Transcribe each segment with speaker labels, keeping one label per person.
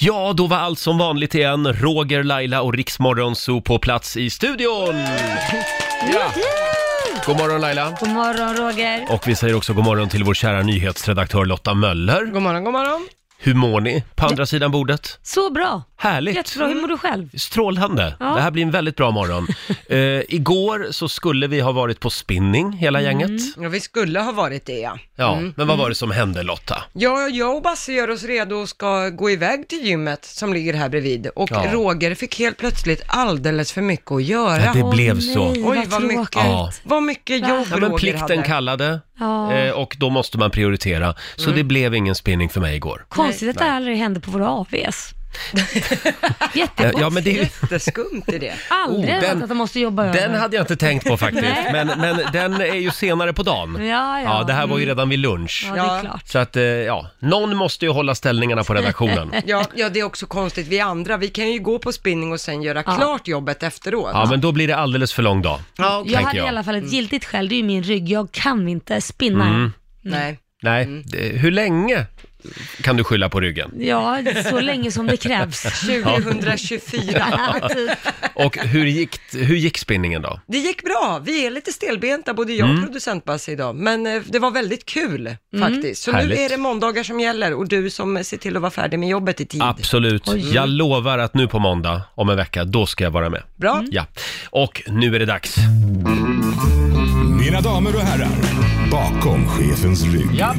Speaker 1: Ja, då var allt som vanligt igen. Roger, Laila och Riksmorgonzoo på plats i studion! Ja. God morgon Laila!
Speaker 2: God morgon Roger.
Speaker 1: Och vi säger också god morgon till vår kära nyhetsredaktör Lotta Möller.
Speaker 3: God morgon, god morgon.
Speaker 1: Hur mår ni på andra sidan bordet?
Speaker 2: Så bra.
Speaker 1: Härligt! Mm.
Speaker 2: Jättebra. Hur mår du själv?
Speaker 1: Strålande!
Speaker 2: Ja.
Speaker 1: Det här blir en väldigt bra morgon. Eh, igår så skulle vi ha varit på spinning, hela
Speaker 2: Mm.
Speaker 1: gänget.
Speaker 3: Mm. Ja, vi skulle ha varit det ja.
Speaker 1: Ja,
Speaker 3: Mm.
Speaker 1: men vad var det som hände Lotta?
Speaker 3: Ja, jag och Basse gör oss redo och ska gå iväg till gymmet som ligger här bredvid och
Speaker 1: Ja.
Speaker 3: Roger fick helt plötsligt alldeles för mycket att göra.
Speaker 1: Ja, det
Speaker 2: Åh,
Speaker 1: blev
Speaker 2: nej,
Speaker 1: så.
Speaker 3: Oj, vad mycket.
Speaker 2: tråkigt.
Speaker 1: Ja.
Speaker 3: Vad mycket
Speaker 2: Va?
Speaker 3: jobb
Speaker 1: Ja, men
Speaker 3: Roger
Speaker 1: plikten
Speaker 3: hade.
Speaker 1: kallade
Speaker 2: Ja.
Speaker 1: eh, och då måste man prioritera. Så
Speaker 3: Mm.
Speaker 1: det blev ingen spinning för mig igår.
Speaker 2: Konstigt att det här aldrig händer på våra AVs.
Speaker 1: Eh,
Speaker 2: Jättekonstigt.
Speaker 1: Ja, men det,
Speaker 3: Jätteskumt i det.
Speaker 2: Aldrig
Speaker 1: Oh,
Speaker 2: oh,
Speaker 1: den-
Speaker 2: att de måste jobba över.
Speaker 1: den hade jag inte tänkt på faktiskt,
Speaker 2: Nej.
Speaker 1: men, men den är ju senare på dagen.
Speaker 2: Ja, ja.
Speaker 1: det här var ju redan vid lunch.
Speaker 2: Ja, det är
Speaker 3: Ja.
Speaker 2: klart.
Speaker 1: Så att, eh, ja, någon måste ju hålla ställningarna på redaktionen.
Speaker 3: Ja, ja, det är också konstigt. Vi andra, vi kan ju gå på spinning och sen göra
Speaker 2: Ja.
Speaker 3: klart jobbet efteråt.
Speaker 1: Ja, men då blir det alldeles för lång dag.
Speaker 3: Ja, okej. Mm.
Speaker 2: Jag hade
Speaker 1: tänker jag. Mm.
Speaker 2: i alla fall ett giltigt skäl, det är ju min rygg. Jag kan inte spinna. Mm.
Speaker 3: Nej.
Speaker 1: Nej,
Speaker 3: Mm.
Speaker 1: det- hur länge kan du skylla på ryggen?
Speaker 2: Ja, så länge som det krävs.
Speaker 3: 2024.
Speaker 2: Ja, typ.
Speaker 1: Och hur gick, hur gick spinningen då?
Speaker 3: Det gick bra. Vi är lite stelbenta, både jag och producent Basse idag. Men eh, det var väldigt kul
Speaker 2: Mm.
Speaker 3: faktiskt. Så
Speaker 1: Härligt.
Speaker 3: nu är det måndagar som gäller och du som ser till att vara färdig med jobbet i tid.
Speaker 1: Absolut. Jag lovar att nu på måndag, om en vecka, då ska jag vara med.
Speaker 2: Mm.
Speaker 3: Bra.
Speaker 1: Ja. Och nu är det dags.
Speaker 4: Mina damer och herrar, bakom chefens rygg.
Speaker 1: Ja.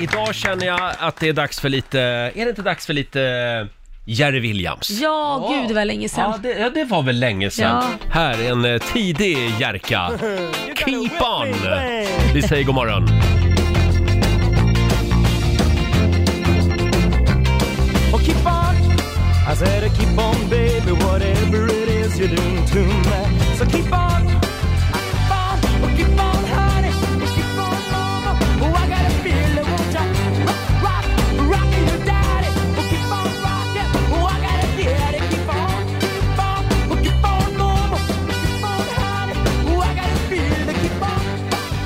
Speaker 1: Idag känner jag att det är dags för lite, är det inte dags för lite eh, Jerry Williams?
Speaker 2: ja gud, det var länge sedan.
Speaker 1: Ja, det, ja, det var väl länge sedan. Här är en eh, tidig Jerka. Keep on! Vi säger god morgon.
Speaker 5: Oh, keep on. I said, uh, keep on, baby, whatever it is you're doing to me. So keep on. I keep on. Oh, keep on, honey. Oh, keep on, mama. Oh, I got a feeling, won't ya? Rock, rock, rockin' your daddy. Oh, keep on rockin'. Oh, I got a feeling. Keep on, keep on. Oh, keep on, mama. Oh, keep on, honey. Oh, I got a feeling. Keep on,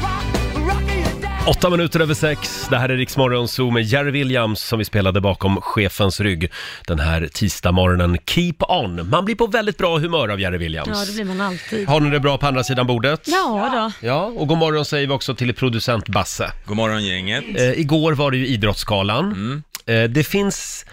Speaker 5: rock, rock, rockin' your daddy.
Speaker 1: Åtta minuter över sex. Det här är Riksmorgon Zoo med Jerry Williams som vi spelade bakom chefens rygg den här tisdagmorgonen. Keep on! Man blir på väldigt bra humör av Jerry Williams.
Speaker 2: Ja, det blir man alltid.
Speaker 1: Har ni det bra på andra sidan bordet?
Speaker 2: Ja, då.
Speaker 1: Ja, och god morgon säger vi också till producent Basse.
Speaker 6: God morgon gänget. Mm.
Speaker 1: Eh, igår var det ju Idrottsgalan. Eh, det finns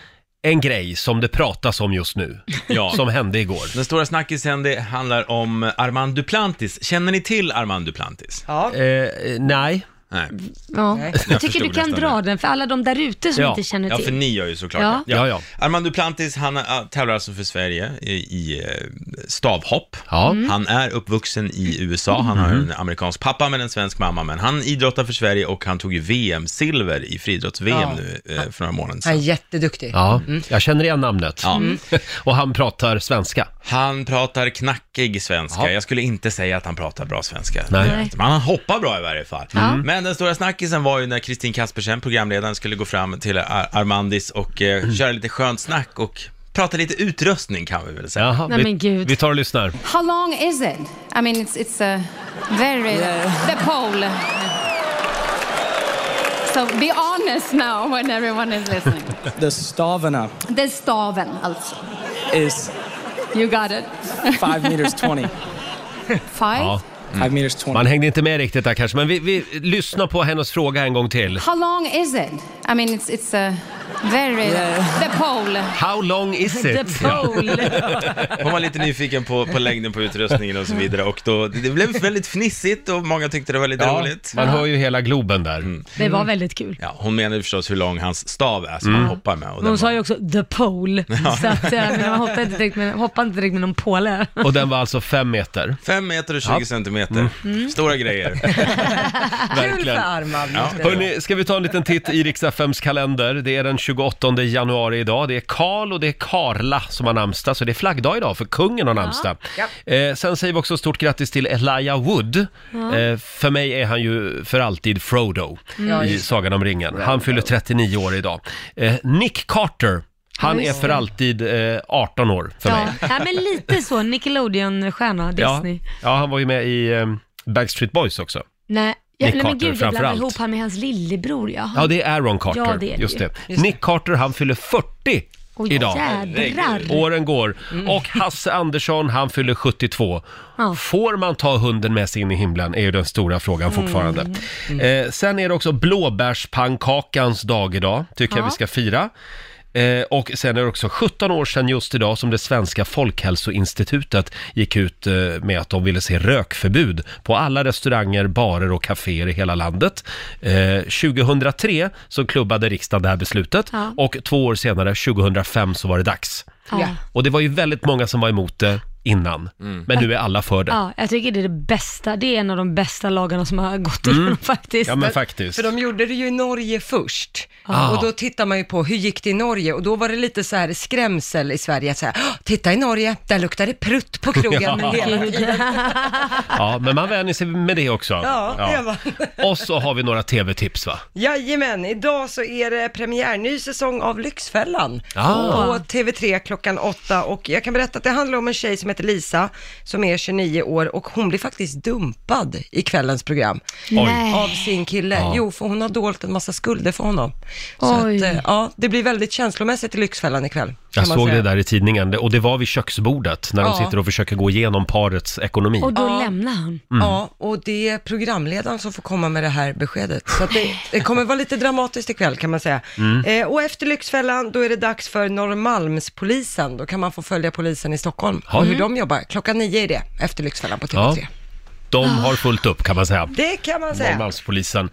Speaker 1: en grej som det pratas om just nu,
Speaker 6: Ja.
Speaker 1: som hände igår.
Speaker 6: Den stora snackisen det handlar om Armand Duplantis. Känner ni till Armand Duplantis?
Speaker 3: Ja.
Speaker 1: Eh, Eh, nej.
Speaker 6: Nej.
Speaker 2: Ja. Jag tycker
Speaker 6: förstod
Speaker 2: du kan
Speaker 6: nästan
Speaker 2: dra
Speaker 6: det.
Speaker 2: den för alla de där ute som
Speaker 1: Ja.
Speaker 2: inte känner
Speaker 6: Ja, för
Speaker 2: till.
Speaker 6: ni gör ju såklart
Speaker 2: Ja.
Speaker 6: det.
Speaker 1: Ja, ja.
Speaker 6: Armand Duplantis, han äh, tävlar alltså för Sverige i, i eh, stavhopp.
Speaker 1: Ja.
Speaker 2: Mm.
Speaker 1: Mm.
Speaker 6: Han är uppvuxen i USA, han har en amerikansk pappa men en svensk mamma, men han idrottar för Sverige och han tog ju VM-silver i friidrotts-VM
Speaker 3: Ja.
Speaker 6: nu eh, för några månader
Speaker 3: Han är
Speaker 6: sedan.
Speaker 3: jätteduktig. Mm.
Speaker 1: Ja, jag känner igen namnet.
Speaker 6: Mm.
Speaker 1: Mm.
Speaker 6: Ja.
Speaker 1: Och han pratar svenska.
Speaker 6: Han pratar knackig svenska.
Speaker 1: Ja.
Speaker 6: Jag skulle inte säga att han pratar bra svenska.
Speaker 1: Nej. Mm.
Speaker 6: Nej. Men han hoppar bra i varje fall. Men den stora snackisen var ju när Kristin Kaspersen, programledaren, skulle gå fram till Ar- Armandis och
Speaker 1: Mm.
Speaker 6: eh, köra lite skönt snack och prata lite utrustning kan vi väl säga.
Speaker 1: Jaha,
Speaker 2: Nej,
Speaker 1: vi,
Speaker 2: men gud.
Speaker 1: vi tar och lyssnar.
Speaker 7: How long is it? I mean, it's it's a very the poll. So be honest now when everyone is listening.
Speaker 5: The stavena
Speaker 7: The staven, alltså.
Speaker 5: is
Speaker 7: You got it.
Speaker 5: 5 meters 20.
Speaker 7: Five.
Speaker 1: Ja.
Speaker 5: 5 meters 20.
Speaker 1: Man hängde inte med riktigt där kanske, men vi, vi lyssnar på hennes fråga en gång till.
Speaker 7: How long is it? I mean, it's it's a very the poll.
Speaker 1: How long is
Speaker 2: The
Speaker 1: it? Ja.
Speaker 2: Pole.
Speaker 6: Hon var lite nyfiken på, på längden på utrustningen och så vidare och då, det blev väldigt fnissigt och många tyckte det var lite
Speaker 1: Ja,
Speaker 6: roligt. Mm.
Speaker 1: man hör ju hela Globen där. Mm.
Speaker 2: Det var väldigt kul.
Speaker 6: Ja, hon menade förstås hur lång hans stav är som han hoppar med. Och
Speaker 1: Mm.
Speaker 2: Men
Speaker 6: den
Speaker 2: hon sa
Speaker 6: var-
Speaker 2: ju också the pole, så att, eh, men man hoppade inte direkt med, hoppade inte direkt med någon påle.
Speaker 1: Och den var alltså fem meter. Mm.
Speaker 6: Fem meter och 20 centimeter. Stora grejer.
Speaker 3: Kul för
Speaker 1: Verkligen.
Speaker 3: Armand.
Speaker 1: Hörni, ska vi ta en liten titt i Riks-FMs kalender? Det är den 28 januari idag. Det är Karl och det är Karla som har namnsdag, så det är flaggdag idag för kungen har namnsdag. Eh, sen säger vi också stort grattis till Elijah Wood. Eh, för mig är han ju för alltid Frodo i Sagan om ringen. Han fyller 39 år idag. Eh, Nick Carter, han är för alltid eh, 18 år för mig.
Speaker 2: Ja. ja, men lite så, Nickelodeon-stjärna,
Speaker 1: Ja,
Speaker 2: Disney.
Speaker 1: ja, han var ju med i eh, Backstreet Boys också.
Speaker 2: Nej, Ja,
Speaker 1: Nick
Speaker 2: nej, men
Speaker 1: Carter
Speaker 2: gud, jag blandar
Speaker 1: framförallt.
Speaker 2: ihop han med hans lillebror. Ja,
Speaker 1: Ja, det är Aaron Carter.
Speaker 2: Ja, det är det
Speaker 1: Just
Speaker 2: ju.
Speaker 1: det. Nick Carter, han fyller 40
Speaker 2: Oj,
Speaker 1: idag.
Speaker 2: jädrar. Mm.
Speaker 1: Åren går. Och Hasse Andersson, han fyller 72.
Speaker 2: Ja.
Speaker 1: Får man ta hunden med sig in i himlen? är ju den stora frågan fortfarande.
Speaker 2: Mm.
Speaker 1: Eh, sen är det också blåbärspannkakans dag idag, tycker jag
Speaker 2: Ja.
Speaker 1: vi ska fira. Eh, och sen är det också 17 år sedan just idag som det svenska folkhälsoinstitutet gick ut eh, med att de ville se rökförbud på alla restauranger, barer och kaféer i hela landet. Eh, 2003 så klubbade riksdagen det här beslutet
Speaker 2: Ja.
Speaker 1: och två år senare, 2005, så var det dags.
Speaker 2: Ja.
Speaker 1: Och det var ju väldigt många som var emot det innan,
Speaker 3: Mm.
Speaker 1: men nu är alla för det.
Speaker 2: ja, jag tycker det är det bästa. Det är en av de bästa lagarna som har gått igenom faktiskt.
Speaker 1: Mm. Ja, men faktiskt.
Speaker 3: För de gjorde det ju i Norge först.
Speaker 1: Ah.
Speaker 3: Och då tittar man ju på hur gick det i Norge och då var det lite så här skrämsel i Sverige. att Så här, "Åh, titta i Norge, där luktar det prutt på krogen hela tiden.
Speaker 1: Ja, men man vänjer sig med det också.
Speaker 3: Ja, det gör man.
Speaker 1: Och så har vi några tv-tips va?
Speaker 3: Jajamän, idag så är det premiär, ny säsong av Lyxfällan
Speaker 1: Ah.
Speaker 3: på TV3 klockan åtta och jag kan berätta att det handlar om en tjej som heter Lisa som är 29 år och hon blir faktiskt dumpad i kvällens program
Speaker 1: Oj.
Speaker 3: av sin kille. Jo, för hon har dolt en massa skulder för honom. Så
Speaker 2: Oj.
Speaker 3: att, eh, ja, det blir väldigt känslomässigt i Lyxfällan ikväll. kan
Speaker 1: Jag
Speaker 3: man
Speaker 1: såg
Speaker 3: säga.
Speaker 1: det där i tidningen det- och det var vid köksbordet när de
Speaker 3: Ja.
Speaker 1: sitter och försöker gå igenom parets ekonomi.
Speaker 2: Och då
Speaker 3: Ja.
Speaker 2: lämnar han.
Speaker 1: Mm.
Speaker 3: Ja, och det är programledaren som får komma med det här beskedet. Så att det, det kommer vara lite dramatiskt ikväll kan man säga.
Speaker 1: Mm.
Speaker 3: Eh, och efter Lyxfällan, då är det dags för Norrmalmspolisen. Då kan man få följa polisen i Stockholm
Speaker 1: Ja.
Speaker 2: Mm.
Speaker 3: och hur de jobbar. Klockan nio är det, efter Lyxfällan på
Speaker 1: Ja.
Speaker 3: TV3.
Speaker 1: De har fullt upp kan man säga.
Speaker 3: Det kan man säga.
Speaker 1: Norrmalmspolisen.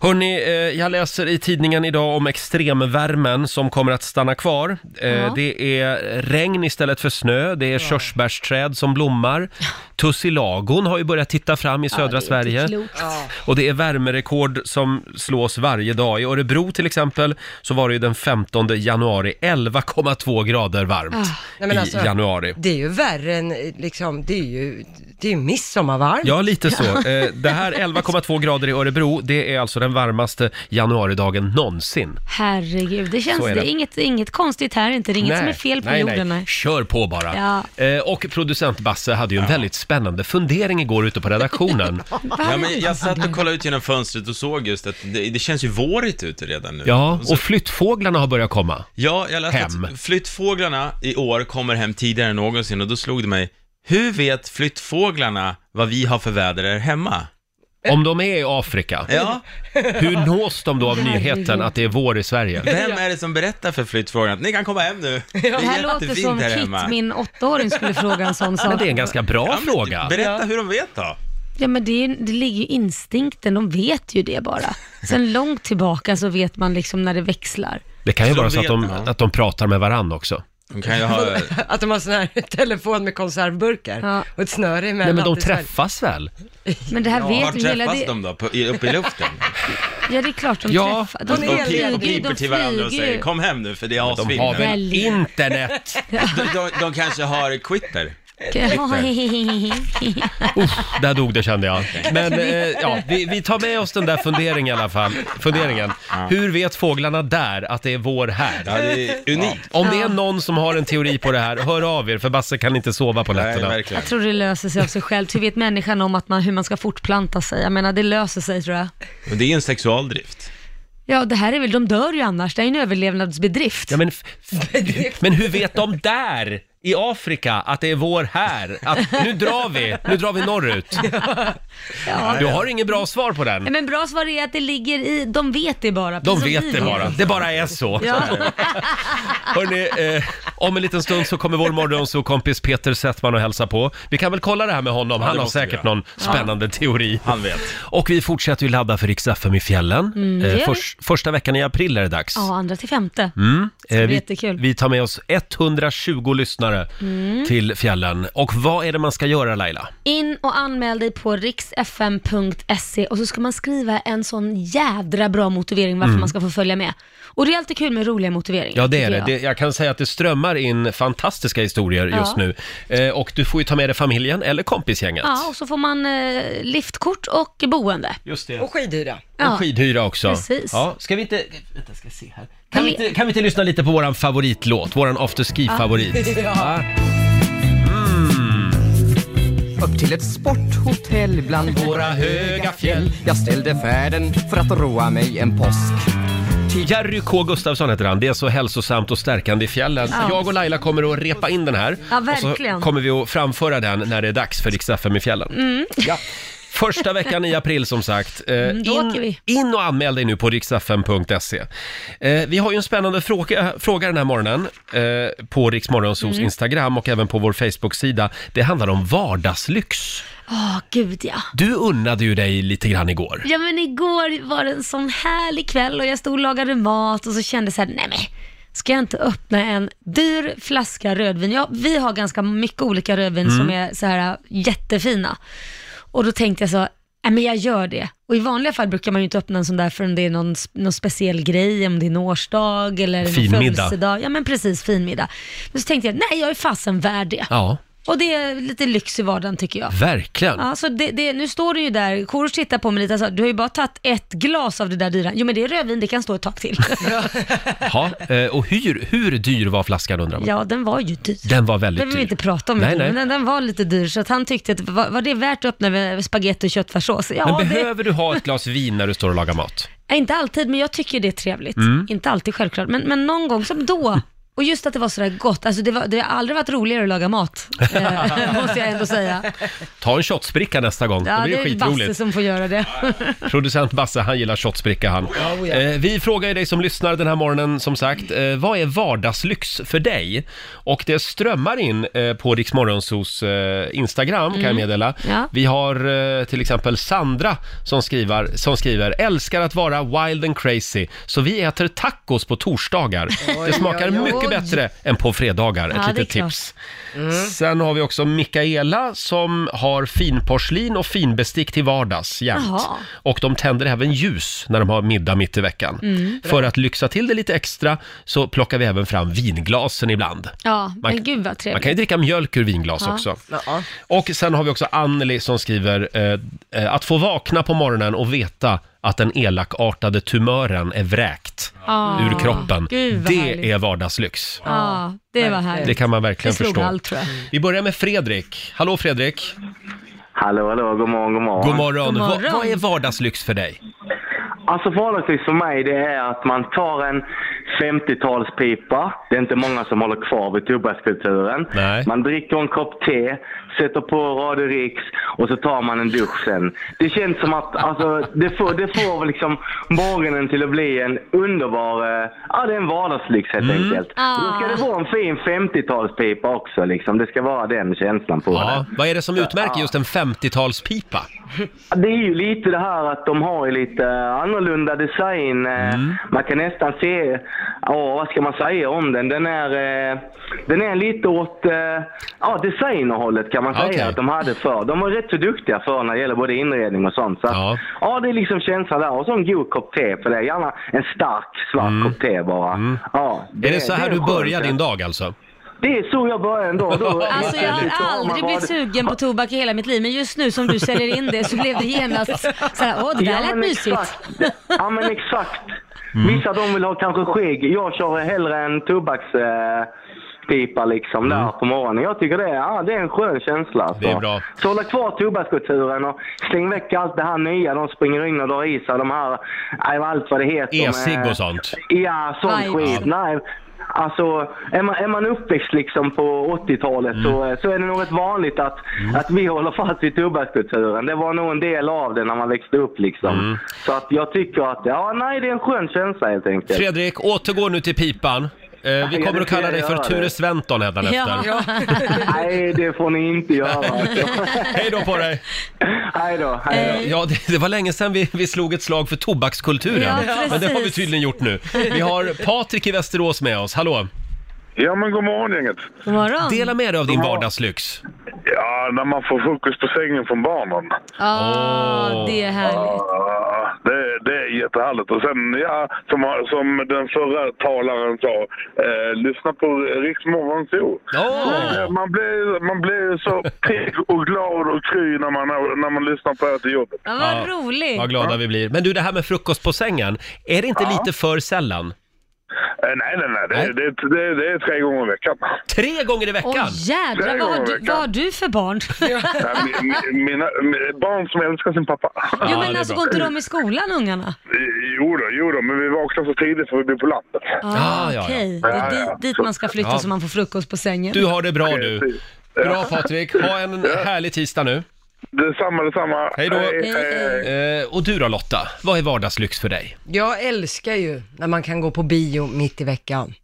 Speaker 1: Hörni, eh, jag läser i tidningen idag om extremvärmen som kommer att stanna kvar. Eh,
Speaker 2: Ja.
Speaker 1: Det är regn istället för snö, det är körsbärsträd som blommar. Tussilagon har ju börjat titta fram i södra
Speaker 2: det är inte
Speaker 1: Sverige.
Speaker 2: klokt.
Speaker 1: Och det är värmerekord som slås varje dag. I Örebro till exempel så var det ju den 15 januari 11,2 grader varmt
Speaker 3: Nej, men
Speaker 1: i
Speaker 3: alltså-
Speaker 1: januari.
Speaker 3: Det är ju värre än, eh, liksom, det är ju, det är ju midsommarvarmt.
Speaker 1: Ja, lite så. Eh, Det här 11,2 grader i Örebro, det är alltså den varmaste januaridagen någonsin.
Speaker 2: Herregud, det känns
Speaker 1: Så är
Speaker 2: det.
Speaker 1: det.
Speaker 2: Inget, inget konstigt här inte. Det är inget som är fel på
Speaker 1: nej,
Speaker 2: jorden.
Speaker 1: Nej.
Speaker 2: Nej.
Speaker 1: Kör på bara.
Speaker 2: Ja.
Speaker 1: Eh, Och producent Basse hade ju en väldigt spännande fundering igår ute på redaktionen.
Speaker 6: Ja, men jag satt och kollade ut genom fönstret och såg just att det, det känns ju vårigt ute redan nu.
Speaker 1: Ja,
Speaker 6: Så-
Speaker 1: och flyttfåglarna har börjat komma.
Speaker 6: Ja, jag läste
Speaker 1: Hem.
Speaker 6: att flyttfåglarna i år kommer hem tidigare än någonsin och då slog det mig, hur vet flyttfåglarna vad vi har för väder här hemma?
Speaker 1: Om de är i Afrika,
Speaker 6: Ja,
Speaker 1: hur nås de då av
Speaker 2: Herregud.
Speaker 1: nyheten att det är vår i Sverige?
Speaker 6: vem är det som berättar för flyttfåglarna att ni kan komma hem nu? Det
Speaker 2: Det här låter som
Speaker 6: här
Speaker 2: Kit, min åttaåring, skulle fråga en sån sak.
Speaker 1: Men det är en ganska bra
Speaker 6: Ja, men
Speaker 1: fråga.
Speaker 6: Berätta hur de vet då.
Speaker 2: Ja, men det, är, det ligger ju i instinkten, de vet ju det bara. Sen långt tillbaka så vet man liksom när det växlar.
Speaker 1: Det kan ju
Speaker 6: Så de
Speaker 1: vara så att
Speaker 6: vet,
Speaker 1: de,
Speaker 6: ja.
Speaker 1: att de pratar med varann också.
Speaker 6: De kan ju ha...
Speaker 3: Att de har sån här telefon med konservburkar
Speaker 2: Ja.
Speaker 3: och ett snöre emellan.
Speaker 1: Nej men de
Speaker 3: Det är så här-
Speaker 1: träffas väl?
Speaker 2: Men det här
Speaker 6: Var
Speaker 2: vet ju hela...
Speaker 6: träffas
Speaker 2: Det,
Speaker 6: de då? På, i- uppe i luften?
Speaker 2: Ja, det är klart de
Speaker 1: Ja.
Speaker 2: träffar.
Speaker 3: Och
Speaker 2: De,
Speaker 3: de
Speaker 6: De kli-
Speaker 3: flyger ju,
Speaker 6: de kryper till varandra och
Speaker 2: flyger ju.
Speaker 6: säger kom hem nu för det är
Speaker 1: De har
Speaker 6: asfint.
Speaker 1: väl
Speaker 2: Väldigt.
Speaker 1: internet?
Speaker 6: De, de, de kanske har quitter.
Speaker 1: Uff, där dog det kände jag. Men eh, ja, vi, vi tar med oss den där funderingen i alla fall. Funderingen. Hur vet fåglarna där att det är vår här?
Speaker 6: Ja, det är unikt.
Speaker 1: Om det är någon som har en teori på det här, hör av er för Basse kan inte sova på
Speaker 6: Nej,
Speaker 1: nätterna.
Speaker 6: verkligen.
Speaker 2: Jag tror det löser sig av sig självt. Hur vet människan om att man, hur man ska fortplanta sig? Jag menar, det löser sig tror jag.
Speaker 6: Och det är ju en sexualdrift.
Speaker 2: Ja, det här är väl, de dör ju annars. Det här är en överlevnadsbedrift.
Speaker 1: Ja, men, f- f- men hur vet de där i Afrika att det är vår här? Att nu drar vi, nu drar vi norrut. Du har inget bra svar på
Speaker 2: Nej,
Speaker 1: den.
Speaker 2: men bra svar är att det ligger i, de vet det bara.
Speaker 1: Mm. De
Speaker 2: precis som vi
Speaker 1: vet det bara, det bara är så.
Speaker 2: Ja.
Speaker 1: Hörrni, eh, om en liten stund så kommer vår morgonsåkompis Peter Settman och hälsa på. Vi kan väl kolla det här med honom, han har
Speaker 6: måste vi
Speaker 1: säkert
Speaker 6: göra.
Speaker 1: någon spännande teori.
Speaker 6: Han vet.
Speaker 1: Och vi fortsätter ju ladda för riks i fjällen.
Speaker 2: Mm, det
Speaker 1: eh,
Speaker 2: gör vi.
Speaker 1: förs- första veckan i april är det dags.
Speaker 2: ja, andra till femte.
Speaker 1: Eh,
Speaker 2: bli
Speaker 1: vi,
Speaker 2: jättekul.
Speaker 1: vi tar med oss 120 lyssnare till fjällen. Och vad är det man ska göra Laila?
Speaker 2: Mm. In och anmäl dig på riksfm.se och så ska man skriva en sån jädra bra motivering varför man ska få följa med. Och det är alltid kul med roliga motiveringar.
Speaker 1: Mm. Ja, det är
Speaker 2: tycker
Speaker 1: det.
Speaker 2: jag.
Speaker 1: det. Jag kan säga att det strömmar in fantastiska historier
Speaker 2: Ja.
Speaker 1: just nu. Eh, och du får ju ta med dig familjen eller kompisgänget.
Speaker 2: Ja, och så får man eh, liftkort och boende.
Speaker 1: Just det.
Speaker 3: Och skidhyra.
Speaker 2: Ja.
Speaker 1: Och skidhyra också.
Speaker 2: Precis.
Speaker 1: Ja, ska vi inte... Vänta, ska jag se här. Kan, vi
Speaker 2: Men-
Speaker 1: inte, kan vi inte lyssna lite på våran favoritlåt? Våran afterski-favorit.
Speaker 3: Ja.
Speaker 1: Va?
Speaker 8: upp till ett sporthotell bland våra höga fjäll. Jag ställde färden för att roa mig en påsk.
Speaker 1: Jerry K Gustafsson heter han. Det är så hälsosamt och stärkande i fjällen.
Speaker 2: Ja.
Speaker 1: Jag och Laila kommer att repa in den här.
Speaker 2: Ja,
Speaker 1: Och
Speaker 2: verkligen.
Speaker 1: så kommer vi att framföra den när det är dags för Rix FM i fjällen.
Speaker 2: Mm.
Speaker 1: Ja. Första veckan i april som sagt.
Speaker 2: då
Speaker 1: Eh, in,
Speaker 2: åker vi.
Speaker 1: in och anmäl dig nu på riksfm.se. Eh, vi har ju en spännande fråga, fråga den här morgonen eh, på Riksmorgonsos
Speaker 2: Mm.
Speaker 1: Instagram och även på vår Facebook-sida. Det handlar om vardagslyx.
Speaker 2: Åh, gud ja.
Speaker 1: Du unnade ju dig lite grann igår.
Speaker 2: Ja men igår var det en sån härlig kväll och jag stod och lagade mat och så kände jag så här, nej men ska jag inte öppna en dyr flaska rödvin? Ja, vi har ganska mycket olika rödvin som
Speaker 1: Mm.
Speaker 2: är så här äh, jättefina. Och då tänkte jag så, nej men jag gör det. Och i vanliga fall brukar man ju inte öppna en sån där förrän det är någon, någon speciell grej, om det är en årsdag eller någon
Speaker 1: Fin middag.
Speaker 2: födelsedag. Ja men precis, fin middag. Men så tänkte jag, nej jag är fasen värd det.
Speaker 1: Ja,
Speaker 2: Och det är lite lyx i vardagen tycker jag.
Speaker 1: verkligen.
Speaker 2: Ja, så det, det, nu står du ju där, Korosh tittar på mig lite och sa, du har ju bara tagit ett glas av det där dyra. Jo men det är rödvin, det kan stå ett tag till.
Speaker 1: Ja, eh, och hur, hur dyr var flaskan undrar man?
Speaker 2: ja, den var ju dyr.
Speaker 1: Den var
Speaker 2: Det
Speaker 1: väldigt
Speaker 2: behöver vi
Speaker 1: dyr.
Speaker 2: inte prata om,
Speaker 1: Nej,
Speaker 2: nej,
Speaker 1: nej.
Speaker 2: men den, den var lite dyr så att han tyckte att var, var det värt att öppna med spagetti och köttfärssås? Ja,
Speaker 1: Men
Speaker 2: det,
Speaker 1: behöver du ha ett glas vin när du står och lagar mat?
Speaker 2: ja, inte alltid men jag tycker det är trevligt.
Speaker 1: Mm.
Speaker 2: Inte alltid självklart, men, men någon gång som då. Och just att det var sådär gott, alltså det, var, det har aldrig varit roligare att laga mat, eh, måste jag ändå säga.
Speaker 1: Ta en shotsbricka nästa gång,
Speaker 2: Ja,
Speaker 1: det blir
Speaker 2: det är Basse
Speaker 1: skitroligt.
Speaker 2: som får göra det.
Speaker 1: Producent Basse, han gillar shotsbricka han.
Speaker 2: Oh,
Speaker 1: Eh, vi frågar ju dig som lyssnar den här morgonen som sagt, eh, vad är vardagslyx för dig? Och det strömmar in eh, på Rix Morgonzos eh, Instagram kan jag meddela.
Speaker 2: Mm. Ja.
Speaker 1: Vi har eh, till exempel Sandra som skriver, som skriver, älskar att vara wild and crazy, så vi äter tacos på torsdagar. det smakar mycket bättre än på fredagar. Ett
Speaker 2: Ja, det är
Speaker 1: litet
Speaker 2: klart.
Speaker 1: tips.
Speaker 2: Mm.
Speaker 1: Sen har vi också Mikaela som har finporslin och finbestick till vardags jämt.
Speaker 2: Jaha.
Speaker 1: Och de tänder även ljus när de har middag mitt i veckan.
Speaker 2: Mm.
Speaker 1: För att lyxa till det lite extra så plockar vi även fram vinglasen ibland.
Speaker 2: Ja,
Speaker 1: Man-
Speaker 2: men gud vad trevligt.
Speaker 1: Man kan ju dricka mjölk ur vinglas
Speaker 2: Ja.
Speaker 1: också. Och sen har vi också Anneli som skriver eh, eh, att få vakna på morgonen och veta att den elakartade tumören är vräkt
Speaker 2: Ah,
Speaker 1: ur kroppen.
Speaker 2: Gud, vad
Speaker 1: det
Speaker 2: härligt.
Speaker 1: är vardagslyx.
Speaker 2: Ja, det var härligt.
Speaker 1: Det kan man verkligen
Speaker 2: det slog
Speaker 1: förstå.
Speaker 2: allt tror jag.
Speaker 1: Vi börjar med Fredrik. Hallå Fredrik!
Speaker 9: Hallå, hallå, god morgon, god morgon.
Speaker 1: God morgon!
Speaker 2: God morgon.
Speaker 1: Va, vad är vardagslyx för dig?
Speaker 9: Alltså vardagslyx för mig det är att man tar en 50-talspipa, det är inte många som håller kvar vid tobakskulturen.
Speaker 1: Nej.
Speaker 9: Man dricker en kopp te, sätter på Radio Rix och så tar man en dusch sen. Det känns som att alltså, det, får, det får väl liksom morgonen till att bli en underbar, eh, ja det är en vardagslyx helt
Speaker 1: Mm.
Speaker 9: enkelt.
Speaker 2: Ah.
Speaker 9: Då ska det vara en fin 50-talspipa också liksom, det ska vara den känslan på
Speaker 1: Ja,
Speaker 9: det.
Speaker 1: vad är det som utmärker just en 50-talspipa?
Speaker 9: Det är ju lite det här att de har ju lite eh, annorlunda design. Eh,
Speaker 1: Mm.
Speaker 9: Man kan nästan se, ja vad ska man säga om den? Den är, eh, den är lite åt eh, ja, designerhållet kan man säga
Speaker 1: Okej.
Speaker 9: att de hade förr. De var rätt så duktiga förr när det gäller både inredning och sånt. Så att,
Speaker 1: Ja.
Speaker 9: ja. det är liksom känslan där. Och så en god kopp te för det. Gärna en stark svart kopp te bara. Ja,
Speaker 1: Mm. är det så här
Speaker 9: är
Speaker 1: du
Speaker 9: skönt,
Speaker 1: börjar
Speaker 9: det.
Speaker 1: din dag alltså?
Speaker 9: Det är så jag börjar en dag. Då,
Speaker 2: Alltså jag
Speaker 9: Då
Speaker 2: har
Speaker 9: man
Speaker 2: aldrig blivit
Speaker 9: vad-
Speaker 2: sugen på tobak i hela mitt liv, men just nu som du säljer in det så blev det genast såhär, åh det där lät
Speaker 9: men
Speaker 2: mysigt.
Speaker 9: Exakt. Ja men exakt.
Speaker 1: Mm.
Speaker 9: Vissa de vill ha kanske skägg. Jag kör hellre en tobakspipa eh, pipa liksom där på morgonen. Jag tycker det är, ja, det är en skön känsla. Alltså.
Speaker 1: Mm. Det är bra.
Speaker 9: Så hålla kvar tobakskulturen och släng väck allt det här nya. De springer in och drar i sig de här, nej, allt vad det heter. med-
Speaker 1: E-cigg och sånt.
Speaker 9: Ja, sån
Speaker 2: Vibes.
Speaker 9: skit. Nej. Alltså, är man, är man uppväxt liksom på 80-talet
Speaker 1: Mm.
Speaker 9: så, så är det nog rätt vanligt att, att vi håller fast vid tobakskulturen. Det var nog en del av det när man växte upp liksom.
Speaker 1: Mm.
Speaker 9: Så att jag tycker att, ja nej det är en skön känsla helt enkelt.
Speaker 1: Fredrik, återgå nu till pipan. Eh, vi
Speaker 9: Ja,
Speaker 1: kommer
Speaker 9: det
Speaker 1: att kalla
Speaker 9: ska
Speaker 1: dig
Speaker 9: jag
Speaker 1: för
Speaker 9: göra.
Speaker 1: Ture Sventon hädanefter.
Speaker 2: Ja.
Speaker 9: nej, det får ni inte göra alltså.
Speaker 1: Hej då på dig!
Speaker 9: Hej då, hej då.
Speaker 1: Eh, Ja, det, det var länge sedan vi, vi slog ett slag för tobakskulturen.
Speaker 2: Ja,
Speaker 1: men det har vi
Speaker 2: precis.
Speaker 1: tydligen gjort nu. Vi har Patrik i Västerås med oss. Hallå!
Speaker 10: Ja, men god morgon gänget.
Speaker 2: God morgon.
Speaker 1: Dela med dig av din vardagslyx.
Speaker 10: Ja, när man får fokus på sängen från barnen.
Speaker 2: Ja, det är härligt.
Speaker 10: Ja, det, det är jättehärligt. Och sen, ja, som, som den förra talaren sa, eh, lyssna på Rix Morgon Zoo. Eh,
Speaker 1: Åh!
Speaker 10: Man blir, man blir så pigg och glad och kry när man, när man lyssnar på det till jobbet.
Speaker 2: Ja,
Speaker 1: Ja.
Speaker 2: vad roligt.
Speaker 1: Vad glada vi blir. Men du, det här med frukost på sängen, är det inte lite för sällan?
Speaker 10: Eh, nej, nej, nej. Det, Det, det, det är tre gånger i veckan.
Speaker 1: Tre gånger i veckan?
Speaker 2: Åh jädrar, vad har, du, vad har du för barn?
Speaker 10: Nej, mi- mi- mina, mi- barn som älskar sin pappa.
Speaker 2: jo men alltså går inte de i skolan ungarna?
Speaker 10: Jo då, jo då, men vi vaknar så tidigt för vi bor på landet.
Speaker 2: Ah, Okej, det är dit, dit man ska flytta
Speaker 1: Ja.
Speaker 2: så man får frukost på sängen.
Speaker 1: Du har det bra du. Bra Patrik, ha en härlig tisdag nu.
Speaker 10: Detsamma, detsamma.
Speaker 1: Hej då.
Speaker 3: Hej,
Speaker 1: Eh, och du då Lotta, vad är vardagslyx för dig?
Speaker 3: Jag älskar ju när man kan gå på bio mitt i veckan.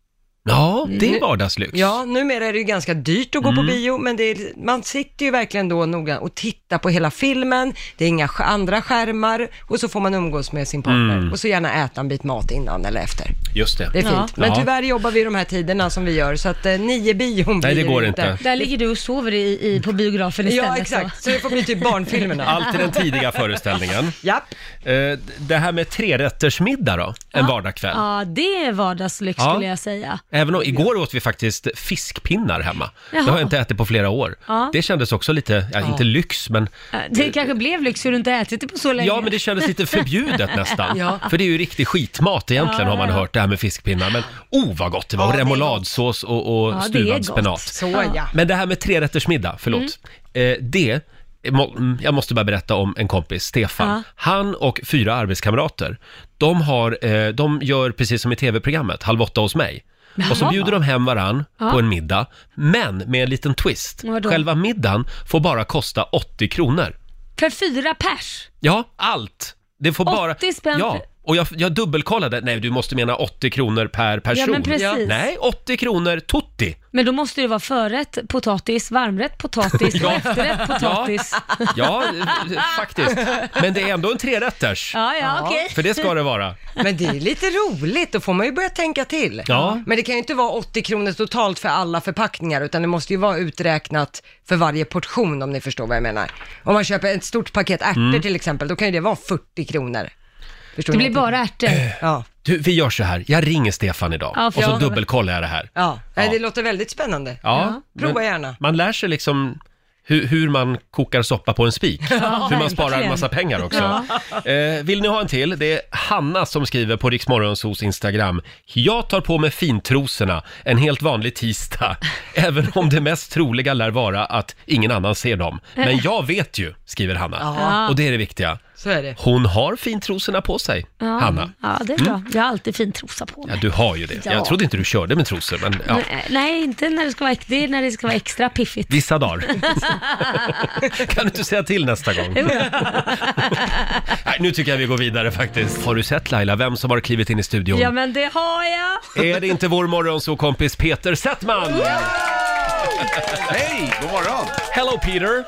Speaker 1: Ja, det är
Speaker 3: Nu-
Speaker 1: vardagslyx.
Speaker 3: Mm. Ja, numera är det ju ganska dyrt att gå
Speaker 1: Mm.
Speaker 3: på bio, men det är, man sitter ju verkligen då noga och tittar på hela filmen, det är inga sk- andra skärmar och så får man umgås med sin partner
Speaker 1: Mm.
Speaker 3: och så gärna äta en bit mat innan eller efter.
Speaker 1: Just det.
Speaker 3: Det är fint. Men
Speaker 1: Ja.
Speaker 3: tyvärr jobbar vi de här tiderna som vi gör, så att eh, nio bion
Speaker 1: Nej, det
Speaker 3: blir
Speaker 1: går inte.
Speaker 2: Där ligger du och sover i, i, på biografen istället.
Speaker 3: Ja, exakt. Så det får bli typ barnfilmerna.
Speaker 1: Alltid den tidiga föreställningen.
Speaker 3: Japp.
Speaker 1: Eh, det här med trerättersmiddag då, en vardagskväll.
Speaker 2: Ja, det är vardagslyx
Speaker 1: Ja.
Speaker 2: skulle jag säga.
Speaker 1: Även om, igår åt vi faktiskt fiskpinnar hemma.
Speaker 2: Jaha.
Speaker 1: Det har jag inte ätit på flera år.
Speaker 2: Ja.
Speaker 1: Det kändes också lite, ja, inte lyx, men
Speaker 2: Äh, Det kanske blev lyx för du inte ätit det på så länge.
Speaker 1: Eh, Ja, men det kändes lite förbjudet nästan.
Speaker 2: Ja.
Speaker 1: För det är ju riktig skitmat egentligen
Speaker 2: Ja,
Speaker 1: har man
Speaker 2: ja.
Speaker 1: hört det här med fiskpinnar. Men oh vad gott det var!
Speaker 2: Ja,
Speaker 1: och
Speaker 2: det är
Speaker 1: remouladsås och, och
Speaker 2: Ja, det är
Speaker 1: stuvad
Speaker 2: gott.
Speaker 1: spenat.
Speaker 2: Så, ja. Mm.
Speaker 1: Men det här med trerättersmiddag, förlåt. Eh, det, må- mm, jag måste bara berätta om en kompis, Stefan.
Speaker 2: Ja.
Speaker 1: Han och fyra arbetskamrater, de, har, eh, de gör precis som i tv-programmet Halv åtta hos mig. Och så
Speaker 2: Jaha.
Speaker 1: bjuder de hem varann
Speaker 2: Ja.
Speaker 1: på en middag, men med en liten twist.
Speaker 2: Vadå?
Speaker 1: Själva middagen får bara kosta 80 kronor.
Speaker 2: För fyra pers?
Speaker 1: Ja, allt. Det får
Speaker 2: 80
Speaker 1: bara...
Speaker 2: spänn
Speaker 1: Ja.
Speaker 2: för-
Speaker 1: Och jag, jag dubbelkollade, nej du måste mena 80 kronor per person.
Speaker 2: Ja, men precis. Ja.
Speaker 1: Nej, 80 kronor tutti.
Speaker 2: Men då måste det vara förrätt potatis, varmrätt potatis och
Speaker 1: Ja.
Speaker 2: efterrätt potatis.
Speaker 1: Ja, eh, faktiskt. Men det är ändå en trerätters.
Speaker 2: Ja, ja, okej.
Speaker 1: För det ska det vara.
Speaker 3: Men det är ju lite roligt, då får man ju börja tänka till.
Speaker 1: Ja.
Speaker 3: Men det kan ju inte vara 80 kronor totalt för alla förpackningar, utan det måste ju vara uträknat för varje portion om ni förstår vad jag menar. Om man köper ett stort paket ärtor
Speaker 1: Mm.
Speaker 3: till exempel, då kan ju det vara 40 kronor. Förstår
Speaker 2: Det
Speaker 3: ni?
Speaker 2: blir bara ärtor.
Speaker 3: Ja.
Speaker 1: Du, vi gör så här. Jag ringer Stefan idag
Speaker 2: Ja,
Speaker 1: och
Speaker 2: för
Speaker 1: så
Speaker 2: jag-
Speaker 1: dubbelkollar jag det här.
Speaker 3: Ja. Nej, det låter väldigt spännande.
Speaker 1: Ja, Mm.
Speaker 3: Prova
Speaker 1: men
Speaker 3: gärna.
Speaker 1: Man lär sig liksom hur, hur man kokar soppa på en spik. hur man
Speaker 3: verkligen.
Speaker 1: sparar en massa pengar också.
Speaker 3: Ja.
Speaker 1: Eh, vill ni ha en till? Det är Hanna som skriver på Riksmorgonsos Instagram. Jag tar på mig fintrosorna en helt vanlig tisdag. även om det mest troliga lär vara att ingen annan ser dem. Men jag vet ju, skriver Hanna.
Speaker 2: Ja.
Speaker 1: Och det är det viktiga.
Speaker 3: Så är det.
Speaker 1: Hon har fintrosorna på sig,
Speaker 2: Ja.
Speaker 1: Hanna. Mm.
Speaker 2: Ja, det är bra. Jag har alltid fin trosa på mig.
Speaker 1: Ja, du har ju det.
Speaker 2: Ja.
Speaker 1: Jag trodde inte du körde med trosor, men ja.
Speaker 2: Nej, Nej, inte när det ska vara, äk- det är när det ska vara extra piffigt.
Speaker 1: Vissa dagar. Kan du inte säga till nästa gång?
Speaker 2: Jo.
Speaker 1: Nej, nu tycker jag vi går vidare faktiskt. Har du sett Laila, vem som har klivit in i studion?
Speaker 2: ja, men det har jag.
Speaker 1: Är det inte vår morgonsåkompis Peter Settman?
Speaker 11: Hej, god morgon!
Speaker 1: Hello Peter!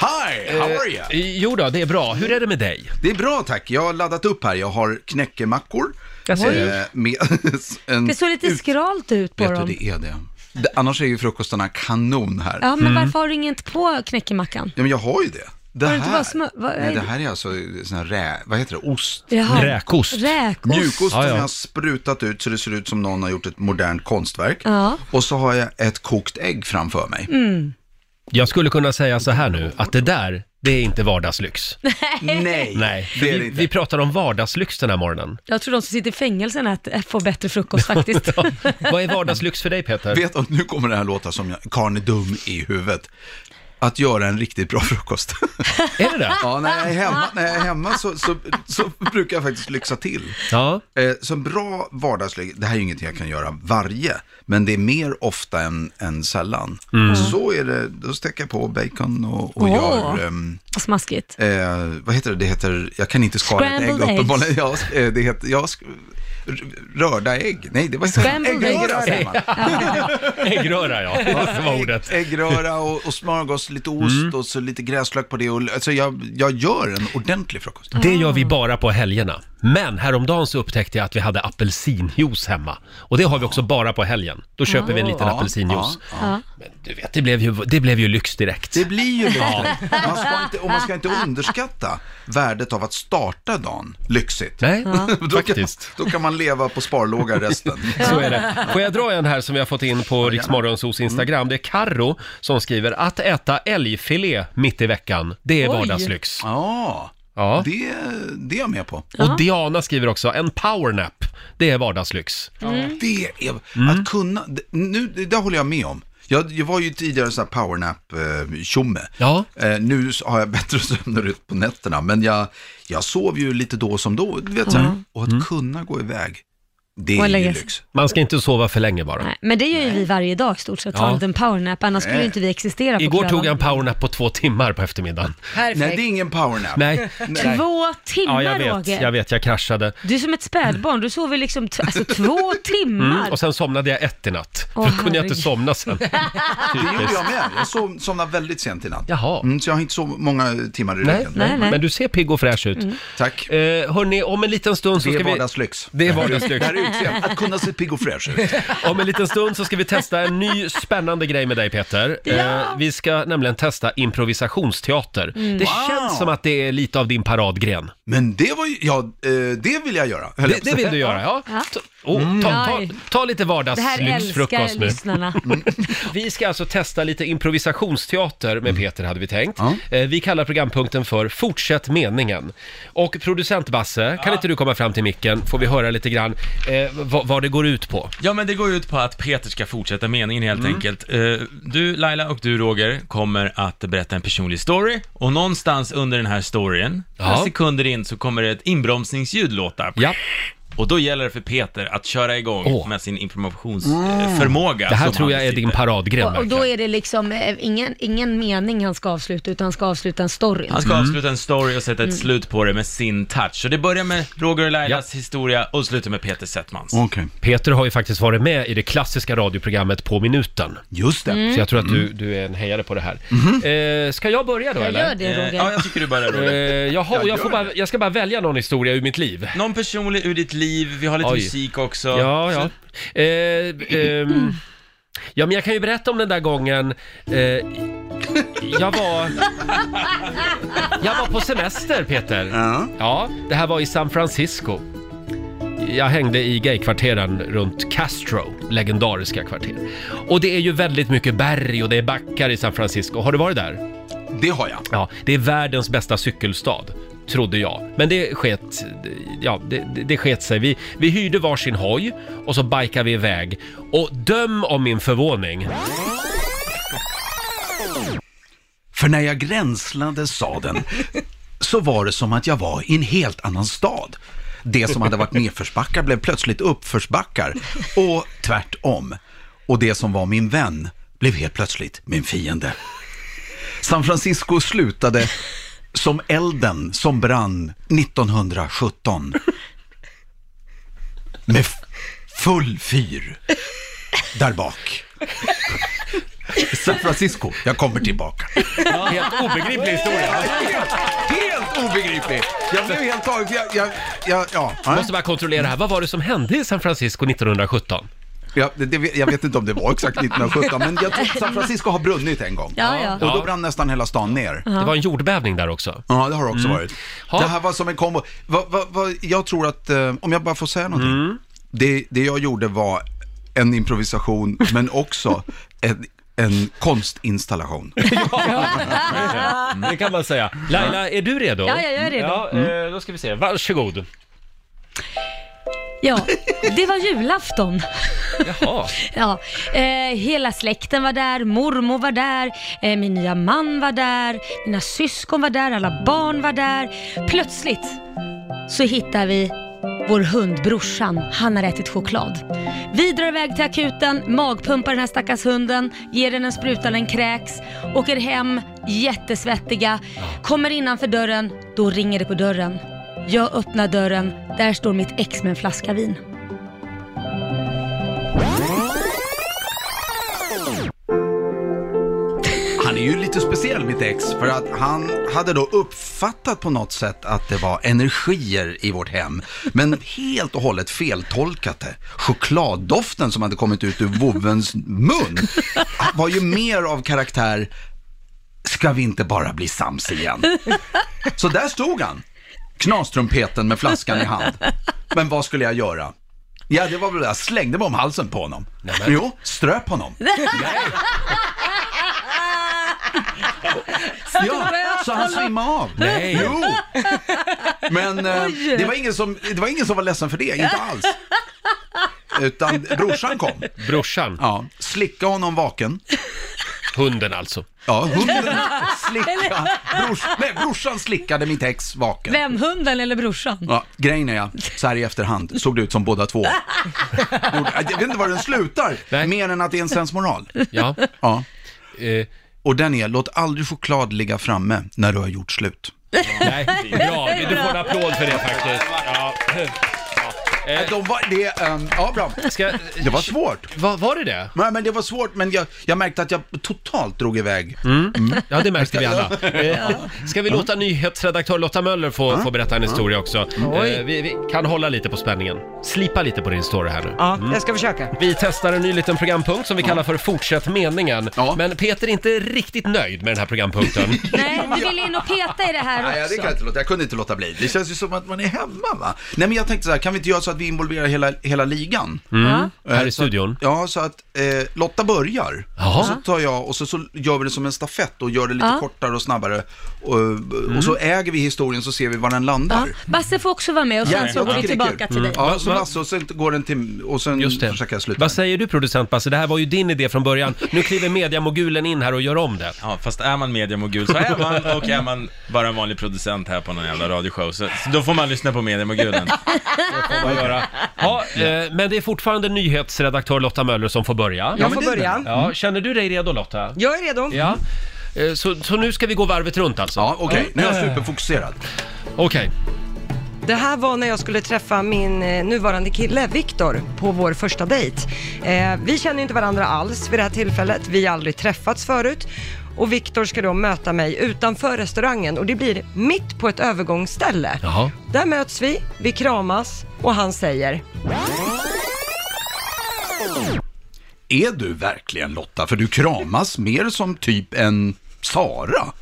Speaker 11: Hi, how are you?
Speaker 1: Eh, jo då, det är bra. Hur är det med dig?
Speaker 11: Det är bra tack. Jag har laddat upp här. Jag har knäckemackor.
Speaker 2: Jag ser.
Speaker 11: Eh, med en
Speaker 2: Det såg lite skralt ut på
Speaker 11: Vet du,
Speaker 2: dem.
Speaker 11: det är det. det. Annars är ju frukostarna kanon här.
Speaker 2: Ja, men
Speaker 1: Mm.
Speaker 2: varför har du inget på knäckemackan?
Speaker 11: Ja, men jag har ju det. Det
Speaker 2: Har du
Speaker 11: här,
Speaker 2: inte bara smör... Vad är
Speaker 11: nej, det här är alltså sån här rä... Vad heter det? Ost?
Speaker 1: Mm.
Speaker 2: Jaha. Räkost. Räkost.
Speaker 11: Mjukost
Speaker 2: Ja, ja.
Speaker 11: som jag har sprutat ut så det ser ut som någon har gjort ett modernt konstverk.
Speaker 2: Ja.
Speaker 11: Och så har jag ett kokt ägg framför mig.
Speaker 2: Mm.
Speaker 1: Jag skulle kunna säga så här nu, att det där, det är inte vardagslyx.
Speaker 11: Nej,
Speaker 1: Nej, för vi, vi pratar om vardagslyx den här morgonen.
Speaker 2: Jag tror de som sitter i fängelsen att får bättre frukost faktiskt.
Speaker 1: Vad är vardagslyx för dig Peter?
Speaker 11: Vet du, nu kommer det här låta som jag, karln är dum i huvudet. Att göra en riktigt bra frukost.
Speaker 1: Är det det?
Speaker 11: Ja, när jag är hemma, när jag är hemma så, så, så brukar jag faktiskt lyxa till.
Speaker 1: Ja.
Speaker 11: Eh, så en bra vardagsläge, det här är ju ingenting jag kan göra varje, men det är mer ofta än, än sällan.
Speaker 1: Mm.
Speaker 11: Så är det, då steker jag på bacon och, och
Speaker 2: Åh.
Speaker 11: gör... ehm,
Speaker 2: Vad smaskigt.
Speaker 11: Eh, vad heter det? Det heter, jag kan inte skala ett ägg
Speaker 2: Scrambled
Speaker 11: uppenbarligen.
Speaker 2: eggs.
Speaker 11: Ja, eh, det heter, ja, sk- r- rörda ägg. Nej, det var
Speaker 2: Scrambled
Speaker 11: äggröra
Speaker 2: eggs.
Speaker 11: säger man.
Speaker 1: Äggröra ja, det måste vara ordet.
Speaker 11: Äggröra och, och smörgås, lite ost
Speaker 1: Mm.
Speaker 11: och så lite gräslök på det. Och, alltså jag, jag gör en ordentlig frukost.
Speaker 1: Det gör vi bara på helgerna. Men häromdagen så upptäckte jag att vi hade apelsinjuice hemma. Och det har vi också bara på helgen. Då köper vi en liten
Speaker 11: Ja,
Speaker 1: apelsinjuice.
Speaker 11: ja,
Speaker 2: Ah. Ja.
Speaker 1: Du vet, det blev ju, det blev ju lyx direkt.
Speaker 11: Det blir ju lyxigt.
Speaker 1: Ja.
Speaker 11: Man ska inte, och man ska inte underskatta värdet av att starta dagen lyxigt.
Speaker 1: Nej,
Speaker 2: Ja.
Speaker 11: då kan, då kan man leva på sparlåga resten.
Speaker 1: Så är det. Får jag dra en här som vi har fått in på Riksmorgonsos Instagram? Det är Karro som skriver att äta älgfilé mitt i veckan, det är
Speaker 11: Oj.
Speaker 1: vardagslyx.
Speaker 11: Ja.
Speaker 1: Ja.
Speaker 11: Det, det är jag med på.
Speaker 1: Och Diana skriver också, en powernap, det är vardagslyx.
Speaker 11: Mm. Det är, att kunna, d- nu, det där håller jag med om. Jag, jag var ju tidigare så här powernap-tjomme.
Speaker 1: Ja.
Speaker 11: Eh, nu s- har jag bättre sömnrytm på nätterna, men jag, jag sov ju lite då som då. Du vet, så här,
Speaker 2: Mm.
Speaker 11: och att kunna gå iväg, det
Speaker 2: Och
Speaker 11: är ju
Speaker 2: lägga sig.
Speaker 11: lyx.
Speaker 1: Man ska inte sova för länge bara.
Speaker 2: Men det gör ju vi varje dag i stort sett, ta
Speaker 1: Ja.
Speaker 2: en liten powernap, annars skulle
Speaker 1: Nej.
Speaker 2: ju inte vi existera på
Speaker 1: Igår
Speaker 2: kvällen.
Speaker 1: tog jag en powernap på två timmar på eftermiddagen.
Speaker 2: Perfekt. Nej, det är
Speaker 11: ingen powernap.
Speaker 1: Nej.
Speaker 2: Två timmar
Speaker 1: Ja, jag vet,
Speaker 2: Roger!
Speaker 1: jag vet, jag kraschade. Mm.
Speaker 2: Du är som ett spädbarn, du sover liksom t- alltså, två timmar!
Speaker 1: Mm, och sen somnade jag ett i natt.
Speaker 2: Åh,
Speaker 1: Då kunde jag inte
Speaker 2: herregud.
Speaker 1: somna sen.
Speaker 11: Det gjorde jag
Speaker 1: Typiskt.
Speaker 11: med. Jag sov, somnade väldigt sent i natt.
Speaker 1: Jaha.
Speaker 11: Mm, så jag har inte så många timmar i
Speaker 1: Nej,
Speaker 11: ryggen.
Speaker 1: nej, nej. Men du ser pigg och fräsch ut.
Speaker 11: Mm. Tack.
Speaker 1: Eh, hörni, om en liten stund så
Speaker 11: Det är
Speaker 1: ska vi...
Speaker 11: vardagslyx.
Speaker 1: Det är
Speaker 11: Det
Speaker 1: vardagslyx.
Speaker 11: här är utseendet. Att kunna se pigg och fräsch ut.
Speaker 1: Om en liten stund så ska vi testa en ny spännande grej med dig Peter. Eh, vi ska nämligen testa improvisationsteater.
Speaker 11: Mm.
Speaker 1: Det
Speaker 11: Wow.
Speaker 1: känns som att det är lite av din paradgren.
Speaker 11: Men det var ju, ja, eh, det vill jag göra. höll
Speaker 1: Det,
Speaker 11: jag på
Speaker 1: det
Speaker 11: att
Speaker 1: vill
Speaker 11: säga. Mm.
Speaker 1: du göra, ja.
Speaker 2: Ja. Mm.
Speaker 1: Oh, ta, ta,
Speaker 2: Oj.
Speaker 1: ta lite
Speaker 2: Det här
Speaker 1: vardagslyxfrukost
Speaker 2: älskar
Speaker 1: nu.
Speaker 2: lyssnarna.
Speaker 1: Vi ska alltså testa lite improvisationsteater
Speaker 11: Mm.
Speaker 1: med Peter hade vi tänkt. Eh, Vi kallar programpunkten för Fortsätt meningen. Och producent Basse, kan inte du komma fram till micken? Får vi höra lite grann eh, vad, vad det går ut på?
Speaker 6: Ja, men det går ut på att Peter ska fortsätta meningen helt
Speaker 1: Mm.
Speaker 6: enkelt. Eh, Du, Laila och du, Roger, kommer att berätta en personlig story och någonstans under den här storyn, några
Speaker 1: Ja.
Speaker 6: sekunder in, så kommer det ett inbromsningsljud låta.
Speaker 1: Ja.
Speaker 6: Och då gäller det för Peter att köra igång med sin
Speaker 1: Mm.
Speaker 6: informationsförmåga.
Speaker 1: Det här tror jag är din paradgren.
Speaker 2: Och, och då är det liksom eh, ingen, ingen mening han ska avsluta, utan han ska avsluta en story.
Speaker 6: Han ska
Speaker 1: Mm.
Speaker 6: avsluta en story och sätta ett
Speaker 2: Mm.
Speaker 6: slut på det med sin touch. Så det börjar med Roger och Lailas historia och slutar med Peter Settmans.
Speaker 1: Peter har ju faktiskt varit med i det klassiska radioprogrammet På minuten.
Speaker 11: Just det. Mm. Mhm.
Speaker 1: Så jag tror att du, du är en hejare på det här. Eh, ska jag börja då
Speaker 6: Jag
Speaker 1: eller?
Speaker 6: gör det, Roger. Eh, ja, jag tycker du börjar, Roger.
Speaker 1: Eh, jaha,
Speaker 6: Jag
Speaker 1: jag,
Speaker 6: gör
Speaker 1: får bara, jag ska bara välja någon historia ur mitt liv.
Speaker 6: Någon personlig ur ditt liv, vi har lite
Speaker 1: Oj.
Speaker 6: musik också.
Speaker 1: Ja, ja. Eh, ehm, ja, men jag kan ju berätta om den där gången eh, jag var... Jag var på semester, Peter. Ja, det här var i San Francisco. Jag hängde i gaykvarteren runt Castro, legendariska kvarter. Och det är ju väldigt mycket berg och det är backar i San Francisco. Har du varit där?
Speaker 11: Det har jag.
Speaker 1: Ja, det är världens bästa cykelstad, trodde jag. Men det sket, ja, det, det, det sket sig. Vi, vi hyrde varsin hoj och så bikade vi iväg. Och döm om min förvåning.
Speaker 11: För när jag gränslade sadeln så var det som att jag var i en helt annan stad. Det som hade varit nedförsbackar blev plötsligt uppförsbackar och tvärtom. Och det som var min vän blev helt plötsligt min fiende. San Francisco slutade som elden som brann 1917. Med f- full fyr där bak. San Francisco, jag kommer tillbaka.
Speaker 1: Helt obegriplig historia.
Speaker 11: Helt obegriplig! Jag blev helt tagen, för jag, jag, jag ja.
Speaker 1: Jag måste bara kontrollera här, vad var det som hände i San Francisco 1917?
Speaker 11: Ja, det, det, jag vet inte om det var exakt 1917, men jag tror att San Francisco har brunnit en gång.
Speaker 2: Ja, ja.
Speaker 11: Och då brann nästan hela stan ner.
Speaker 1: Det var en jordbävning där också.
Speaker 11: Ja, det har det också
Speaker 1: Mm.
Speaker 11: varit. Det här var som en kombo. Va, va, va, jag tror att, eh, om jag bara får säga någonting.
Speaker 1: Mm.
Speaker 11: Det, det jag gjorde var en improvisation, men också en, en konstinstallation.
Speaker 1: Det kan man säga. Laila, är du redo?
Speaker 2: Ja, ja, jag är redo. Mm.
Speaker 1: Ja, eh, då ska vi se. Varsågod.
Speaker 2: Ja, det var julafton.
Speaker 1: Jaha.
Speaker 2: Ja, eh, hela släkten var där, mormor var där, eh, min nya man var där, mina syskon var där, alla barn var där. Plötsligt så hittar vi vår hund brorsan, han har ätit choklad. Vi drar iväg till akuten, magpumpar den här stackars hunden, ger den en spruta, den kräks, åker hem jättesvettiga, kommer innanför dörren, då ringer det på dörren. Jag öppnar dörren, där står mitt ex med en flaska vin.
Speaker 11: Han är ju lite speciell mitt ex, för att han hade då uppfattat på något sätt att det var energier i vårt hem, men helt och hållet feltolkat det. Chokladdoften som hade kommit ut ur vovvens mun var ju mer av karaktär, ska vi inte bara bli sams igen? Så där stod han, knastrumpeten med flaskan i hand. Men vad skulle jag göra? Ja, det var väl jag slängde mig om halsen på honom. Jo, ströp honom.
Speaker 5: Nej.
Speaker 11: Ja, så han svimmade av.
Speaker 1: Nej.
Speaker 11: Jo. Men eh,
Speaker 1: Oj.
Speaker 11: det var, ingen som, det var ingen som var ledsen för det, inte alls. Utan brorsan kom.
Speaker 1: Brorsan?
Speaker 11: Ja, slickade honom vaken.
Speaker 1: Hunden alltså?
Speaker 11: Ja, hunden.
Speaker 2: Eller-
Speaker 11: Brors, nej, brorsan slickade mitt ex vaken.
Speaker 2: Vem, hunden eller brorsan?
Speaker 11: Ja, grejen är, jag, så här i efterhand, såg det ut som båda två. Gjorde- Jag vet inte var den slutar, mer än att det är en sensmoral.
Speaker 1: Ja. Eh.
Speaker 11: ja. Och den är, låt aldrig choklad ligga framme när du har gjort slut.
Speaker 1: Nej, bra. Du får en applåd för det faktiskt. Ja.
Speaker 11: Eh, De var, det, ehm, ja, bra. det var svårt.
Speaker 1: Va, var det det?
Speaker 11: Nej, men det var svårt, men jag, jag märkte att jag totalt drog iväg.
Speaker 1: Mm. Ja, det märkte vi alla. Eh, Ska vi
Speaker 11: Ja.
Speaker 1: låta nyhetsredaktör Lotta Möller få, få berätta en
Speaker 11: Ja.
Speaker 1: historia också?
Speaker 3: Mm.
Speaker 11: Oj.
Speaker 1: Eh, Vi, vi kan hålla lite på spänningen. Slipa lite på din story här nu.
Speaker 3: Ja,
Speaker 1: Mm.
Speaker 3: jag ska försöka.
Speaker 1: Vi testar en ny liten programpunkt som vi kallar för Fortsätt meningen. Men Peter är inte riktigt nöjd med den här programpunkten.
Speaker 2: Nej, du vill in och peta i det här också.
Speaker 11: Nej, det kan jag, inte låta. jag kunde inte låta bli. Det känns ju som att man är hemma va? Nej men jag tänkte så här, kan vi inte göra så att vi involverar hela, hela ligan?
Speaker 1: Mm.
Speaker 11: Eh,
Speaker 1: Här i
Speaker 11: så att-
Speaker 1: studion.
Speaker 11: Ja, så att eh, Lotta börjar.
Speaker 1: Jaha.
Speaker 11: Och så tar jag och så, så gör vi det som en stafett och gör det lite
Speaker 2: Ja.
Speaker 11: kortare och snabbare. Och, eh, och så
Speaker 1: Mm.
Speaker 11: äger vi historien så ser vi var den landar.
Speaker 2: Basse får också vara med och sen så går
Speaker 11: jag
Speaker 2: vi
Speaker 11: tycker det är
Speaker 2: tillbaka
Speaker 11: kul. Mm.
Speaker 2: till dig.
Speaker 11: Ja, så Lasse och sen går den till... Och sen
Speaker 1: Mm. Just det.
Speaker 11: försöker jag sluta.
Speaker 1: Vad säger du producent Basse? Det här var ju din idé från början. Nu kliver mediamogulen in här och gör om det.
Speaker 6: Ja, fast är man mediamogul så är man, och är man bara en vanlig producent här på någon jävla radioshow, så, så då får man lyssna på mediamogulen.
Speaker 1: Vad göra? Ja, eh, men det är fortfarande nyhetsredaktör Lotta Möller som får börja.
Speaker 3: Jag får börja.
Speaker 1: Ja, känner du dig redo Lotta?
Speaker 3: Jag är redo.
Speaker 1: Ja. Eh, Så, så nu ska vi gå varvet runt alltså? Ja,
Speaker 11: okej.
Speaker 3: Mm.
Speaker 11: Nu är jag
Speaker 1: superfokuserad. Okej.
Speaker 3: Det här var när jag skulle träffa min eh, nuvarande kille Viktor på vår första dejt. Eh, vi känner ju inte varandra alls vid det här tillfället. Vi har aldrig träffats förut. Och Viktor ska då möta mig utanför restaurangen och det blir mitt på ett övergångsställe.
Speaker 1: Jaha.
Speaker 3: Där möts vi, vi kramas och han säger
Speaker 11: Är du verkligen Lotta? För du kramas mer som typ en Sara.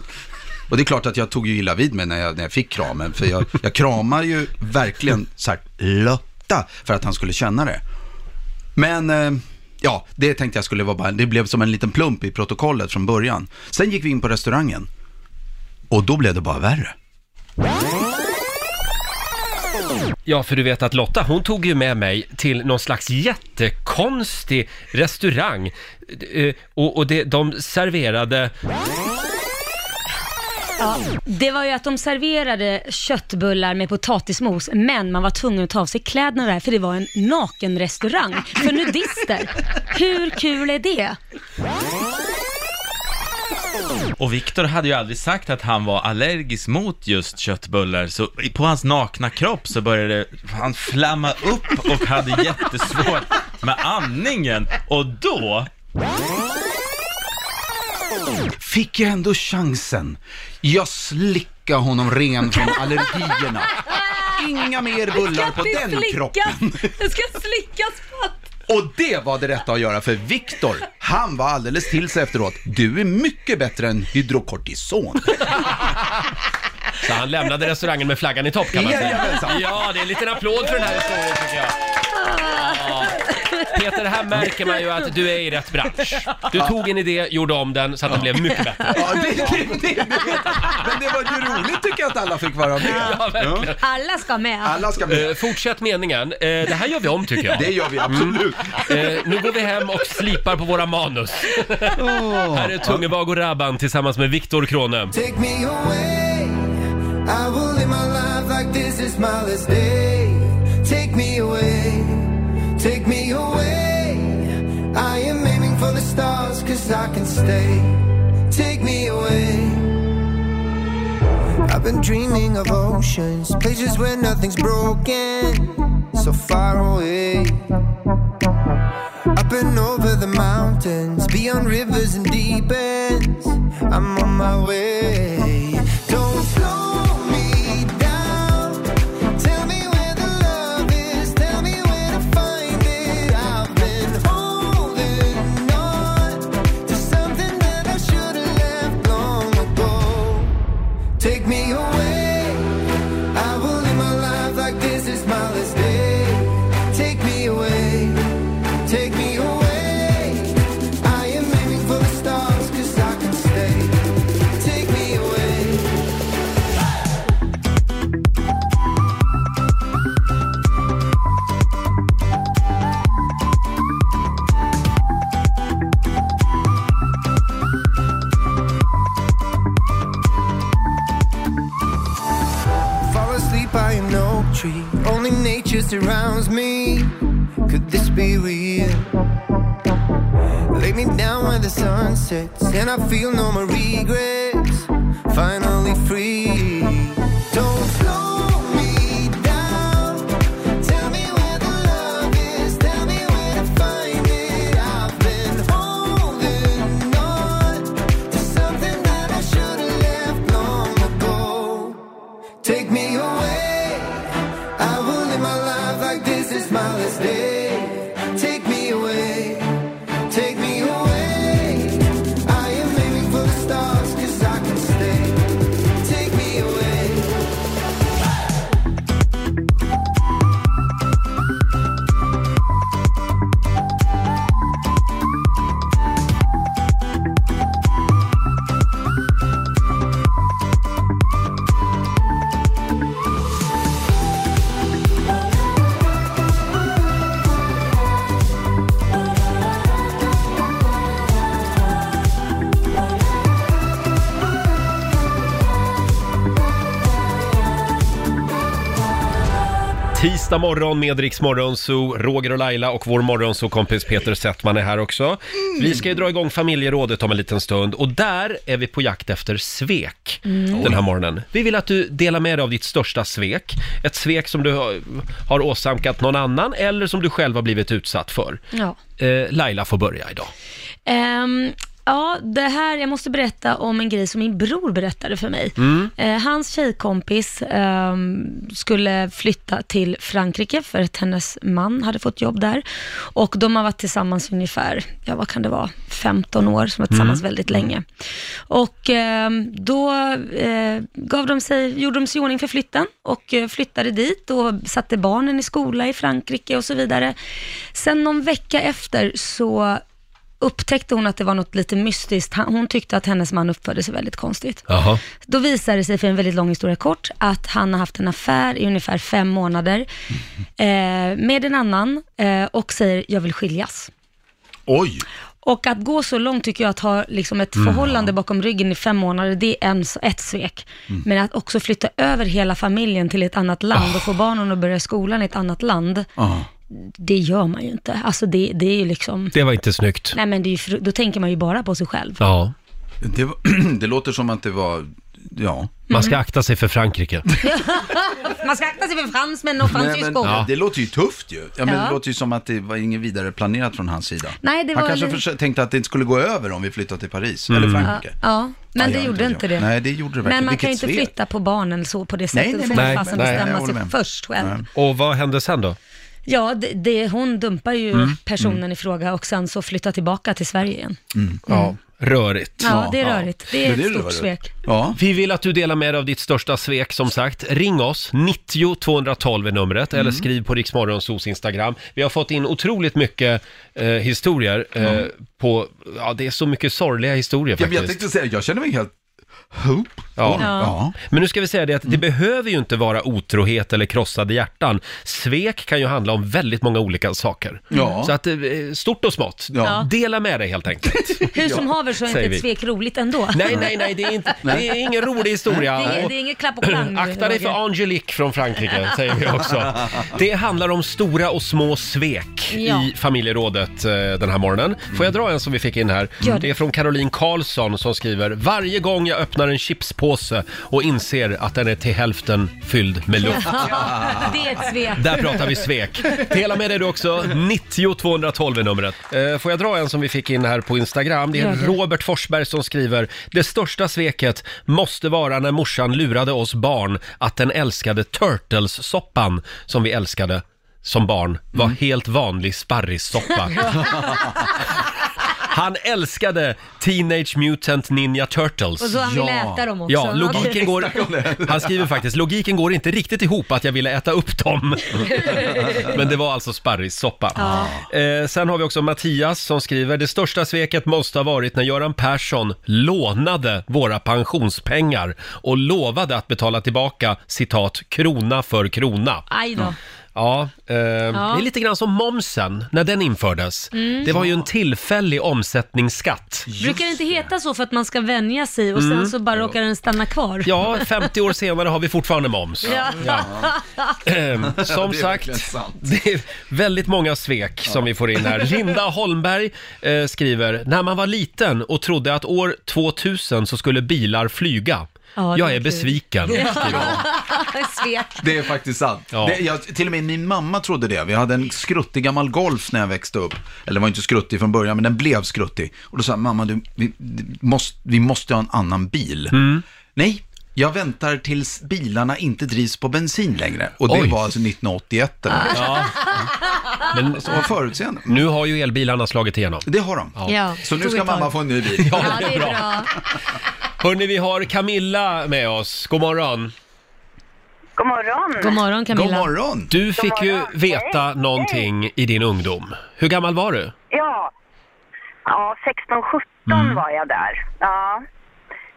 Speaker 11: Och det är klart att jag tog ju illa vid mig när jag, när jag fick kramen. För jag, jag kramar ju verkligen så här Lotta för att han skulle känna det. Men eh, ja, det tänkte jag skulle vara bara, det blev som en liten plump i protokollet från början. Sen gick vi in på restaurangen. Och då blev det bara värre.
Speaker 1: Ja, för du vet att Lotta, hon tog ju med mig till någon slags jättekonstig restaurang. Eh, Och, och det, de serverade...
Speaker 2: Ja, det var ju att de serverade köttbullar med potatismos, men man var tvungen att ta av sig kläderna där, för det var en nakenrestaurang för nudister. Hur kul är det?
Speaker 6: Och Viktor hade ju aldrig sagt att han var allergisk mot just köttbullar, så i- på hans nakna kropp så började han flamma upp och hade jättesvårt med andningen, och då
Speaker 11: Fick jag ändå chansen. Jag slickade honom ren från allergierna. Inga mer bullar på den kroppen.
Speaker 2: Det ska slickas på.
Speaker 11: Och det var det rätta att göra för Viktor, han var alldeles till sig efteråt. Du är mycket bättre än hydrokortison.
Speaker 1: Så han lämnade restaurangen med flaggan i topp kan man säga.
Speaker 5: Jajamensan.
Speaker 1: Ja, det är en liten applåd för den här historien tycker jag. Ja. Peter, här märker man ju att du är i rätt bransch. Du tog en idé, gjorde om den så att den blev mycket bättre.
Speaker 11: Ja, det, det, det, det, men det var ju roligt tycker jag att alla fick vara med.
Speaker 1: Ja, verkligen.
Speaker 2: Alla ska med.
Speaker 1: Eh, fortsätt meningen. Eh, det här gör vi om tycker jag.
Speaker 11: Det gör vi absolut.
Speaker 1: Mm. Eh, nu går vi hem och slipar på våra manus. Här är Tungevag och Rabban tillsammans med Viktor Krone.
Speaker 5: Take me away. I will live my life like this is my last day. Take me away. Take me away. I am aiming for the stars cause I can stay. Take me away. I've been dreaming of oceans, places where nothing's broken, so far away. Up and over the mountains, beyond rivers and deep ends, I'm on my way. Don't slow me down. Tell me where the love is, tell me where to find it. I've been holding on to something that I should have left long ago. Take me away. I will live my life like this is my last day. Take me away. Take me away. I am aiming for the stars cause I can stay. Take me away.
Speaker 12: surrounds me. Could this be real? Lay me down when the sun sets, and I feel no more regrets. Finally free. Don't slow me down. Tell me where the love is. Tell me where to find it. I've been holding on to something that I should have left long ago. Take me away. I will live my life like this is my last day. Take me away, take me away. I am aiming for the stars cause I can stay. Take me away.
Speaker 1: Tisdag morgon med Rix Morgonzoo, Roger och Laila och vår morgonzoo-kompis Peter Settman är här också. Vi ska ju dra igång familjerådet om en liten stund och där är vi på jakt efter svek
Speaker 5: Mm.
Speaker 1: den här morgonen. Vi vill att du delar med dig av ditt största svek. Ett svek som du har- har åsamkat någon annan eller som du själv har blivit utsatt för.
Speaker 2: Ja.
Speaker 1: Eh, Laila får börja idag.
Speaker 2: Ehm, ja, det här, jag måste berätta om en grej som min bror berättade för mig.
Speaker 5: Mm.
Speaker 2: Eh, hans tjejkompis ehm, skulle flytta till Frankrike för att hennes man hade fått jobb där. Och de har varit tillsammans ungefär, ja vad kan det vara, 15 år, som var tillsammans
Speaker 5: Mm.
Speaker 2: väldigt länge. Och ehm, då eh, gav de sig, gjorde de sig i ordning för flytten och eh, flyttade dit och satte barnen i skola i Frankrike och så vidare. Sen någon vecka efter så upptäckte hon att det var något lite mystiskt. Han- Hon tyckte att hennes man uppförde sig väldigt konstigt.
Speaker 1: Jaha.
Speaker 2: Då visade det sig, för en väldigt lång historia kort, att han har haft en affär i ungefär fem månader eh, med en annan eh, och säger jag vill skiljas.
Speaker 11: Oj!
Speaker 2: Och att gå så långt tycker jag, att ha liksom ett
Speaker 5: Mm.
Speaker 2: förhållande bakom ryggen i fem månader, det är en, ett svek. Men att också flytta över hela familjen till ett annat land och få barnen att börja skolan i ett annat land,
Speaker 1: Ah.
Speaker 2: det gör man ju inte. Alltså det, det är ju liksom...
Speaker 1: Det var inte snyggt.
Speaker 2: Nej men det är ju, fru- då tänker man ju bara på sig själv.
Speaker 1: Ja.
Speaker 11: Det, var, det låter som att det var, ja.
Speaker 1: Man ska akta sig för Frankrike.
Speaker 2: man ska akta sig för fransmän och fransyskor.
Speaker 11: Det låter ju tufft ju. Ja, men
Speaker 2: Ja.
Speaker 11: Det låter ju som att det var inget vidare planerat från hans sida.
Speaker 2: Nej, det
Speaker 11: Han
Speaker 2: var
Speaker 11: kanske
Speaker 2: li-
Speaker 11: försö- tänkte att det inte skulle gå över om vi flyttade till Paris
Speaker 1: Mm.
Speaker 11: eller Frankrike.
Speaker 2: Ja, ja. men
Speaker 11: Nej,
Speaker 2: det
Speaker 11: jag
Speaker 2: gjorde
Speaker 11: vet
Speaker 2: inte
Speaker 11: jag.
Speaker 2: det.
Speaker 11: Nej, det gjorde det verkligen.
Speaker 2: Men man kan ju inte
Speaker 11: Vilket svek.
Speaker 2: flytta på barnen så på det sättet. Då får man fasen bestämma sig först själv.
Speaker 1: Och vad hände sen då?
Speaker 11: Mm.
Speaker 2: Ja, det, det, hon dumpar ju
Speaker 1: Mm.
Speaker 2: personen
Speaker 1: Mm.
Speaker 2: i fråga och sen så flyttar tillbaka till Sverige igen.
Speaker 1: Ja, rörigt.
Speaker 2: Ja, det är rörigt. Det är ett stort svek.
Speaker 1: Vi vill att du delar med dig av ditt största svek som sagt. Ring oss, 90 212 är numret,
Speaker 11: Mm.
Speaker 1: eller skriv på Riksmorgonsos Instagram. Vi har fått in otroligt mycket eh, historier eh,
Speaker 11: Ja.
Speaker 1: på, ja det är så mycket sorgliga historier
Speaker 11: Ja, men
Speaker 1: faktiskt.
Speaker 11: jag tänkte säga, jag känner mig helt hope.
Speaker 1: Ja.
Speaker 11: Ja. Mm.
Speaker 1: Men nu ska vi säga det att det behöver ju inte vara otrohet eller krossade hjärtan. Svek kan ju handla om väldigt många olika saker.
Speaker 11: Ja.
Speaker 1: Så att, eh, stort och smått.
Speaker 2: Ja.
Speaker 1: Dela med dig helt enkelt.
Speaker 2: Hur som haver så är
Speaker 1: säger
Speaker 2: inte
Speaker 1: vi.
Speaker 2: ett svek roligt ändå.
Speaker 1: Nej, nej, nej, det är, inte, det är ingen rolig historia.
Speaker 2: Det är, det är inget klapp och klang.
Speaker 1: Akta
Speaker 2: Roger.
Speaker 1: dig för Angelique från Frankrike, säger vi också. Det handlar om stora och små svek
Speaker 2: Ja.
Speaker 1: i familjerådet eh, den här morgonen. Får jag
Speaker 11: Mm.
Speaker 1: dra en som vi fick in här?
Speaker 2: Gör det.
Speaker 1: Det är från Caroline Karlsson som skriver Varje gång jag öppnar en chipspåse och inser att den är till hälften fylld med luft.
Speaker 2: Ja, det är ett svek.
Speaker 1: Där pratar vi svek. Dela med dig du också. 90 212 är numret. Eh, Får jag dra en som vi fick in här på Instagram? Det
Speaker 5: Gör
Speaker 1: är
Speaker 5: det.
Speaker 1: Robert Forsberg som skriver. Det största sveket måste vara när morsan lurade oss barn att den älskade Turtles-soppan som vi älskade som barn var
Speaker 2: Mm.
Speaker 1: helt vanlig sparrissoppa. Han älskade Teenage Mutant Ninja Turtles.
Speaker 2: Och så han ville äta dem också.
Speaker 1: Ja, logiken går... Han skriver faktiskt, logiken går inte riktigt ihop att jag ville äta upp dem. Men det var alltså sparrissoppa. Eh, sen har vi också Mattias som skriver, det största sveket måste ha varit när Göran Persson lånade våra pensionspengar och lovade att betala tillbaka, citat, krona för krona.
Speaker 2: Aj då.
Speaker 1: Ja, eh, det är lite grann som momsen när den infördes.
Speaker 2: Mm.
Speaker 1: Det var ju en tillfällig omsättningsskatt.
Speaker 2: Brukar det inte heta så för att man ska vänja sig och
Speaker 1: Mm.
Speaker 2: sen så bara råkar den stanna kvar?
Speaker 1: Ja, 50 år senare har vi fortfarande moms.
Speaker 2: Ja.
Speaker 1: Ehm, Som
Speaker 2: Det är verkligen
Speaker 1: sagt,
Speaker 2: sant.
Speaker 1: det är väldigt många svek som vi får in här. Linda Holmberg eh, skriver, när man var liten och trodde att år 2000 så skulle bilar flyga.
Speaker 2: Ja,
Speaker 1: Jag
Speaker 2: det är
Speaker 1: är
Speaker 2: kul.
Speaker 1: besviken.
Speaker 2: Svek.
Speaker 11: Det är faktiskt sant. Det, jag, till och med min mamma trodde det. Vi hade en skruttig gammal Golf när jag växte upp. Eller den var inte skruttig från början, men den blev skruttig. Och då sa jag, mamma, du, vi, du måste, vi måste ha en annan bil.
Speaker 1: Mm.
Speaker 11: Nej, jag väntar tills bilarna inte drivs på bensin längre. Och det
Speaker 1: Oj.
Speaker 11: var alltså 1981. Eller något.
Speaker 1: Ja. Men
Speaker 11: Alltså, vad förutseende.
Speaker 1: nu har ju elbilarna slagit igenom.
Speaker 11: Det har de.
Speaker 2: Ja.
Speaker 11: Så nu ska mamma få en ny bil.
Speaker 1: Ja, det är bra. Hörni, vi har Camilla med oss. God morgon.
Speaker 13: God morgon.
Speaker 2: God morgon Camilla.
Speaker 1: Du fick ju veta någonting i din ungdom. Hur gammal var du?
Speaker 13: Ja, ja 16, 17
Speaker 1: Mm.
Speaker 13: var jag där. Ja.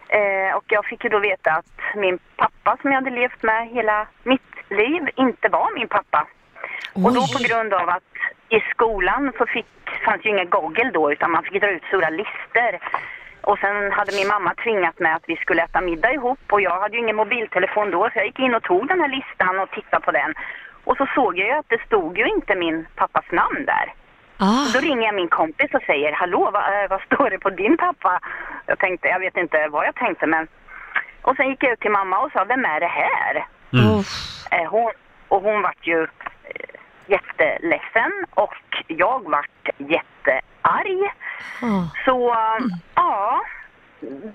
Speaker 13: Eh, och jag fick ju då veta att min pappa som jag hade levt med hela mitt liv inte var min pappa. Och då på grund av att i skolan så fick, fanns ju inga Google då utan man fick dra ut stora listor. Och sen hade min mamma tvingat mig att vi skulle äta middag ihop och jag hade ju ingen mobiltelefon då så jag gick in och tog den här listan och tittade på den. Och så såg jag ju att det stod ju inte min pappas namn där. Och Då ringer jag min kompis och säger, hallå vad, eh, vad står det på din pappa? Jag tänkte, jag vet inte vad jag tänkte men. Och sen gick jag ut till mamma och sa, vem är det här? Eh, Hon, och hon vart ju eh, jätteledsen och jag vart jättearg. Så eh, ja,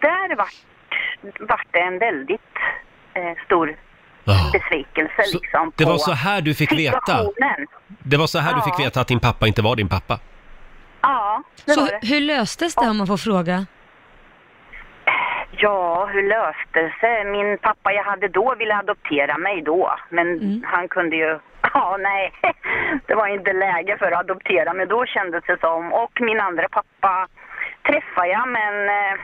Speaker 13: där vart, vart det en väldigt eh, stor besvikelse liksom.
Speaker 1: Det var
Speaker 13: på
Speaker 1: så här du fick veta.
Speaker 13: situationen.
Speaker 1: Det var så här du
Speaker 13: Ja.
Speaker 1: fick veta att din pappa inte var din pappa.
Speaker 13: Ja, det
Speaker 2: Så
Speaker 13: var det.
Speaker 2: hur löstes det om man får fråga?
Speaker 13: Ja, hur löste det sig? Min pappa jag hade då ville adoptera mig då, men
Speaker 2: Mm.
Speaker 13: han kunde ju... Ja, nej, det var inte läge för att adoptera mig då kändes det som. Och min andra pappa träffade jag, men eh,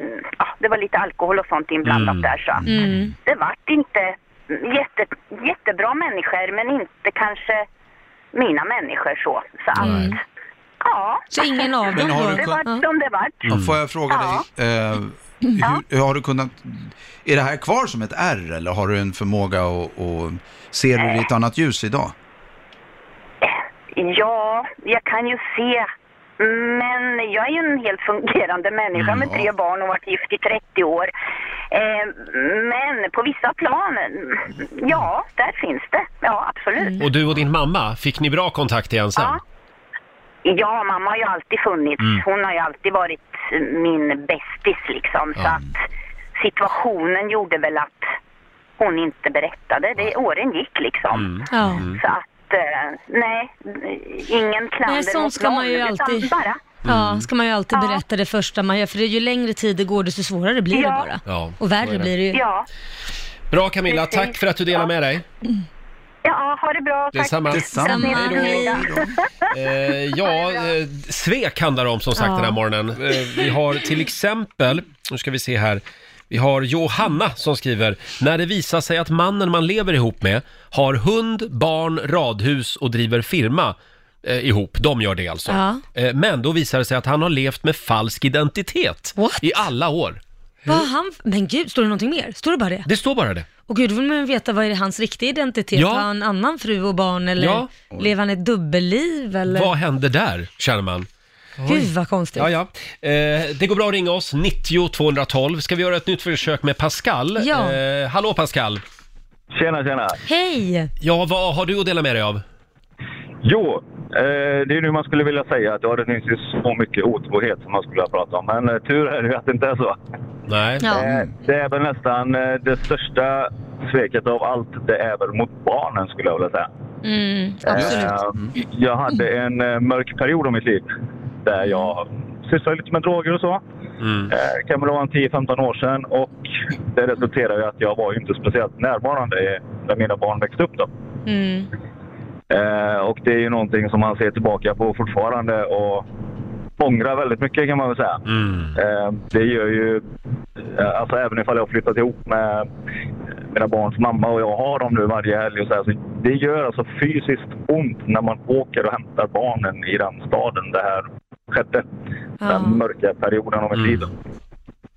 Speaker 13: mm, ja, det var lite alkohol och sånt inblandat där. Så. att
Speaker 2: Mm.
Speaker 13: Det vart inte jätte, jättebra människor, men inte kanske mina människor så. så att, ja.
Speaker 2: Så ingen av
Speaker 11: Men
Speaker 13: dem
Speaker 11: dem har då? du
Speaker 13: Det
Speaker 11: kun-
Speaker 13: vart som det vart.
Speaker 11: Får jag fråga dig, eh, hur, har du kunnat, är det här kvar som ett R eller har du en förmåga att, att se det i ett annat ljus idag?
Speaker 13: Ja, jag kan ju se. Men jag är ju en helt fungerande människa med tre barn och varit gift i 30 år. Eh, men på vissa plan, ja, där finns det. Ja, absolut.
Speaker 1: Och du och din mamma, fick ni bra kontakt igen sen?
Speaker 13: Ja, mamma har ju alltid funnits.
Speaker 1: Mm.
Speaker 13: Hon har ju alltid varit min bästis liksom. Så att situationen gjorde väl att hon inte berättade. Det, åren gick liksom.
Speaker 5: Mm.
Speaker 2: Mm. Ja.
Speaker 13: Så att, eh, nej, ingen klander
Speaker 2: Nej, sånt
Speaker 13: mot
Speaker 2: ska man
Speaker 13: någon,
Speaker 2: ju
Speaker 13: utan
Speaker 2: alltid...
Speaker 13: Bara,
Speaker 1: Mm.
Speaker 2: Ja, ska man ju alltid berätta det första man gör, för det, ju längre tid det går desto svårare blir det
Speaker 13: Ja.
Speaker 2: bara.
Speaker 1: Ja,
Speaker 2: Och
Speaker 1: så
Speaker 2: värre
Speaker 1: är det.
Speaker 2: blir det ju.
Speaker 13: Ja.
Speaker 1: Bra Camilla,
Speaker 13: Precis.
Speaker 1: tack för att du delade med dig.
Speaker 13: ja, ha det bra. Tack.
Speaker 1: Detsamma. Detsamma.
Speaker 13: Hej då.
Speaker 1: Eh, ja, eh, svek handlar det om som sagt
Speaker 13: Ja.
Speaker 1: den här morgonen. Eh, vi har till exempel, nu ska vi se här, vi har Johanna som skriver, när det visar sig att mannen man lever ihop med har hund, barn, radhus och driver firma eh, ihop, de gör det alltså.
Speaker 2: Ja.
Speaker 1: Eh, men då visar det sig att han har levt med falsk identitet i alla år.
Speaker 2: Vad har han... Men gud, står det någonting mer? Står det bara det?
Speaker 1: Det står bara det.
Speaker 2: Och gud, då vill man ju veta vad är hans riktiga identitet?
Speaker 1: Ja.
Speaker 2: Har han en annan fru och barn eller
Speaker 1: Ja.
Speaker 2: lever han ett dubbelliv eller?
Speaker 1: Vad hände där, känner man?
Speaker 2: Gud vad konstigt.
Speaker 1: Ja, ja. Eh, det går bra att ringa oss, 90 212. Ska vi göra ett nytt försök med Pascal?
Speaker 2: Ja.
Speaker 1: Eh, hallå Pascal!
Speaker 14: Tjena, tjena!
Speaker 2: Hej!
Speaker 1: Ja, vad har du att dela med dig av?
Speaker 14: Jo, eh, det är nu man skulle vilja säga att ja, det finns ju så mycket otrohet som man skulle vilja prata om. Men eh, tur är det ju att det inte är så.
Speaker 1: Nej.
Speaker 14: Eh, det är väl nästan eh, det största sveket av allt, det är väl mot barnen skulle jag vilja säga.
Speaker 2: Mm, absolut.
Speaker 14: Eh, jag hade en eh, mörk period av mitt liv där jag sysslade lite med droger och så.
Speaker 1: Mm.
Speaker 14: Eh, kan väl vara en 10-15 år sedan och det resulterade i att jag var ju inte speciellt närvarande i- när mina barn växte upp. Då.
Speaker 2: Mm.
Speaker 14: Eh, och det är ju någonting som man ser tillbaka på fortfarande och ångrar väldigt mycket kan man väl
Speaker 2: Mm.
Speaker 14: säga. Eh, det gör ju, eh, alltså även ifall jag har flyttat ihop med mina barns mamma och jag har dem nu varje helg och så, här, så
Speaker 10: det gör alltså fysiskt ont när man åker och hämtar barnen i den staden det här skedde. Den mörka perioden av mitt liv.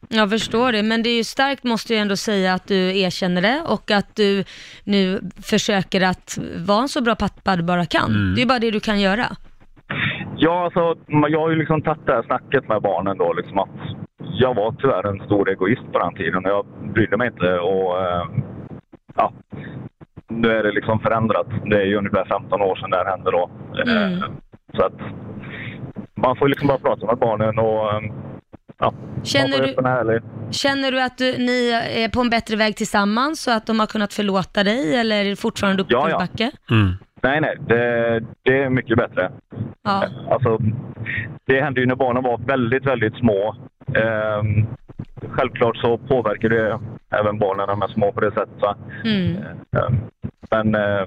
Speaker 2: Jag förstår det, men det är ju starkt måste jag ändå säga att du erkänner det och att du nu försöker att vara en så bra pappa du bara kan.
Speaker 10: Mm.
Speaker 2: Det är bara det du kan göra.
Speaker 10: Ja, alltså, man- jag har ju liksom tagit det här snacket med barnen då, liksom att jag var tyvärr en stor egoist på den tiden och jag brydde mig inte och eh, ja, nu är det liksom förändrat. Det är ju ungefär 15 år sedan det här hände då. Eh,
Speaker 2: Mm.
Speaker 10: Så att man får ju liksom bara prata med barnen och eh, ja,
Speaker 2: Känner
Speaker 10: man får
Speaker 2: du-
Speaker 10: öppna ärlig.
Speaker 2: Känner du att du, ni är på en bättre väg tillsammans så att de har kunnat förlåta dig eller är det fortfarande
Speaker 10: Ja, ja.
Speaker 2: uppförsbacke?
Speaker 10: Nej, nej, det, det är mycket bättre.
Speaker 2: Ja.
Speaker 10: Alltså, det hände ju när barnen var väldigt, väldigt små. Ehm, självklart så påverkar det även barnen när de är små på det sättet. Va?
Speaker 2: Mm.
Speaker 10: Ehm, men eh,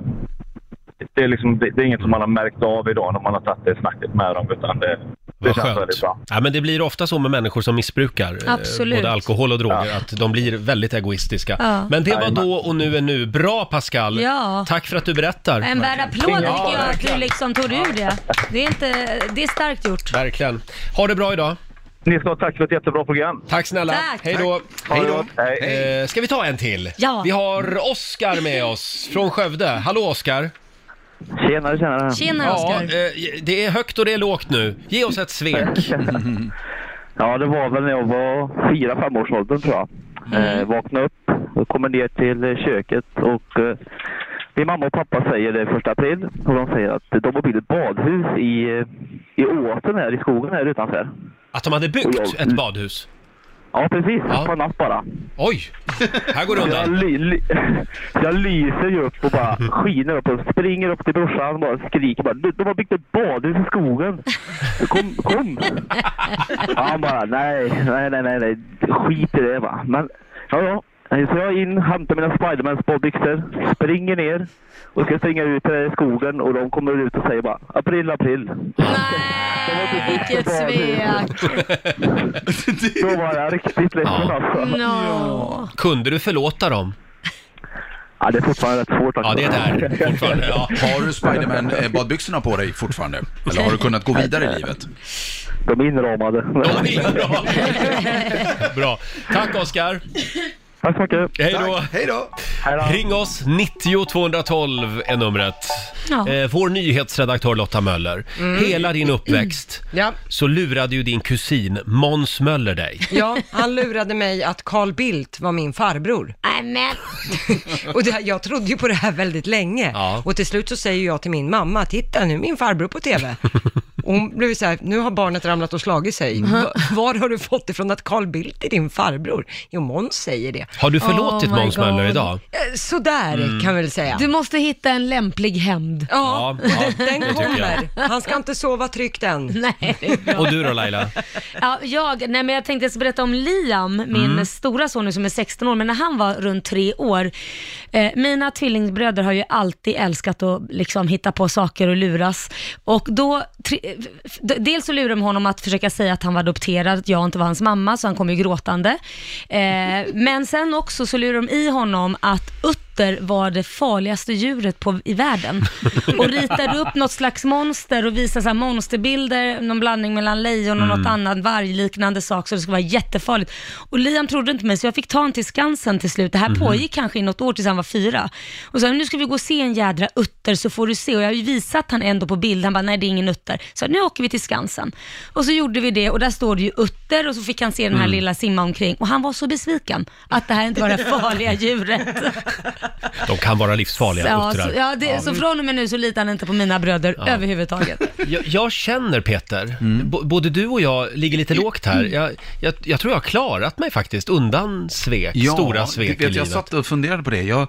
Speaker 10: det, är liksom, det, det är inget som man har märkt av idag när man har tagit det snacket med dem, utan det, det
Speaker 1: Vad
Speaker 10: känns
Speaker 1: skönt.
Speaker 10: väldigt bra.
Speaker 1: Ja, men det blir ofta så med människor som missbrukar eh,
Speaker 2: Absolut.
Speaker 1: både alkohol och droger, att de blir väldigt egoistiska.
Speaker 2: Ja.
Speaker 1: Men det var då och nu är nu. Bra Pascal!
Speaker 2: Ja.
Speaker 1: Tack för att du berättar.
Speaker 2: En värd applåd tycker
Speaker 1: Ja,
Speaker 2: jag att du
Speaker 1: verkligen.
Speaker 2: liksom tog dig ur det. Det är, inte, det är starkt gjort.
Speaker 1: Verkligen. Ha det bra idag.
Speaker 10: Ni ska ha tack för ett jättebra program.
Speaker 1: Tack snälla.
Speaker 2: Tack.
Speaker 1: Hej då.
Speaker 2: Tack.
Speaker 1: Hej då. Eh, ska vi ta en till?
Speaker 2: Ja.
Speaker 1: Vi har Oskar med oss från Skövde. Hallå Oskar.
Speaker 15: Tjenare, tjenare.
Speaker 2: Tjenare,
Speaker 1: ja,
Speaker 2: Oskar.
Speaker 1: eh, Det är högt och det är lågt nu. Ge oss ett svek.
Speaker 15: Ja, det var väl när jag var fyra, femårsåldern tror jag. Eh, vaknade upp och kommer ner till eh, köket och eh, min mamma och pappa säger det är första april och de säger att de har byggt ett badhus i, eh, i åsen här i skogen här utanför.
Speaker 1: Att de hade byggt ett badhus?
Speaker 15: Ja, precis. På en natt bara.
Speaker 1: Oj! Här går det undan.
Speaker 15: Jag, ly, ly, jag lyser ju upp och bara skiner upp och springer upp till brorsan och bara skriker bara "Du, de har byggt ett badhus i skogen. Kom, kom! Ja, han bara nej, nej, nej, nej, nej. skit i det va. Men ja, ja. Så jag in, hämtar mina Spidermans badbyxor, springer ner och ska springa ut i skogen och de kommer ut och säger bara april, april.
Speaker 2: Vilket svek.
Speaker 15: Då var jag riktigt ledsen alltså.
Speaker 2: No.
Speaker 1: Kunde du förlåta dem?
Speaker 15: Ja, det är fortfarande rätt svårt.
Speaker 1: Ja, det är där. Fortfarande, ja.
Speaker 11: Har du Spiderman-badbyxorna på dig fortfarande? Eller har du kunnat gå vidare i livet?
Speaker 15: De är inramade.
Speaker 1: Bra. Tack Oskar.
Speaker 15: Tack så mycket.
Speaker 1: Hej då. Hej då. Ring oss, 90 212 är numret.
Speaker 5: Ja.
Speaker 1: Eh, vår nyhetsredaktör Lotta Möller,
Speaker 3: Mm.
Speaker 1: hela din uppväxt
Speaker 3: Ja.
Speaker 1: så lurade ju din kusin Måns Möller dig.
Speaker 3: Ja, han lurade mig att Carl Bildt var min farbror.
Speaker 2: Amen.
Speaker 3: och det, här- jag trodde ju på det här väldigt länge.
Speaker 1: Ja.
Speaker 3: Och till slut så säger jag till min mamma, titta nu är min farbror på TV. Och hon blev så här, nu har barnet ramlat och slagit sig.
Speaker 2: Mm.
Speaker 3: Va- Var har du fått ifrån att Carl Bildt är din farbror? Jo, Måns säger det.
Speaker 1: Har du förlåtit
Speaker 2: Oh my
Speaker 1: Måns Möller
Speaker 2: God.
Speaker 1: idag?
Speaker 3: Eh, Sådär
Speaker 1: Mm.
Speaker 3: kan jag väl säga.
Speaker 2: Du måste hitta en lämplig hämnd.
Speaker 1: Ja, ja, det
Speaker 3: Den
Speaker 1: tycker jag.
Speaker 3: kommer. Han ska inte sova tryggt än.
Speaker 2: Nej, det är bra.
Speaker 1: Och du då Laila?
Speaker 2: Ja, jag, nej men jag tänkte jag ska berätta om Liam, min
Speaker 1: Mm.
Speaker 2: stora son nu som är 16 år, men när han var runt tre år, eh, mina tvillingbröder har ju alltid älskat att liksom hitta på saker och luras. Och då, tri- f- d- dels så lurade de honom att försöka säga att han var adopterad, att jag inte var hans mamma, så han kom ju gråtande. Eh, men sen också så lurade de i honom att utter var det farligaste djuret på, i världen. Och ritade upp något slags monster och visade så här monsterbilder, någon blandning mellan lejon och
Speaker 16: Mm.
Speaker 2: något annat, vargliknande sak, så det skulle vara jättefarligt. Och Liam trodde inte mig, så jag fick ta honom till Skansen till slut. Det här
Speaker 16: Mhm.
Speaker 2: pågick kanske i något år tills han var fyra. Och sa, nu ska vi gå och se en jädra utter så får du se. Och jag har ju visat han ändå på bild, han bara, nej det är ingen utter. Så nu åker vi till Skansen. Och så gjorde vi det och där står det ju utter och så fick han se den här
Speaker 1: Mm.
Speaker 2: lilla simma omkring. Och han var så besviken att det här inte var det farliga djuret.
Speaker 1: De kan vara livsfarliga
Speaker 2: Ja,
Speaker 1: uttrar.
Speaker 2: så, ja, det, så från och med nu så litar han inte på mina bröder
Speaker 1: Ja.
Speaker 2: överhuvudtaget.
Speaker 1: Jag, jag känner Peter,
Speaker 11: Mm.
Speaker 1: bo- både du och jag ligger lite lågt här. Jag, jag, jag tror jag har klarat mig faktiskt undan svek, stora svek
Speaker 11: vet,
Speaker 1: i
Speaker 11: Jag
Speaker 1: livet.
Speaker 11: satt och funderade på det. Jag,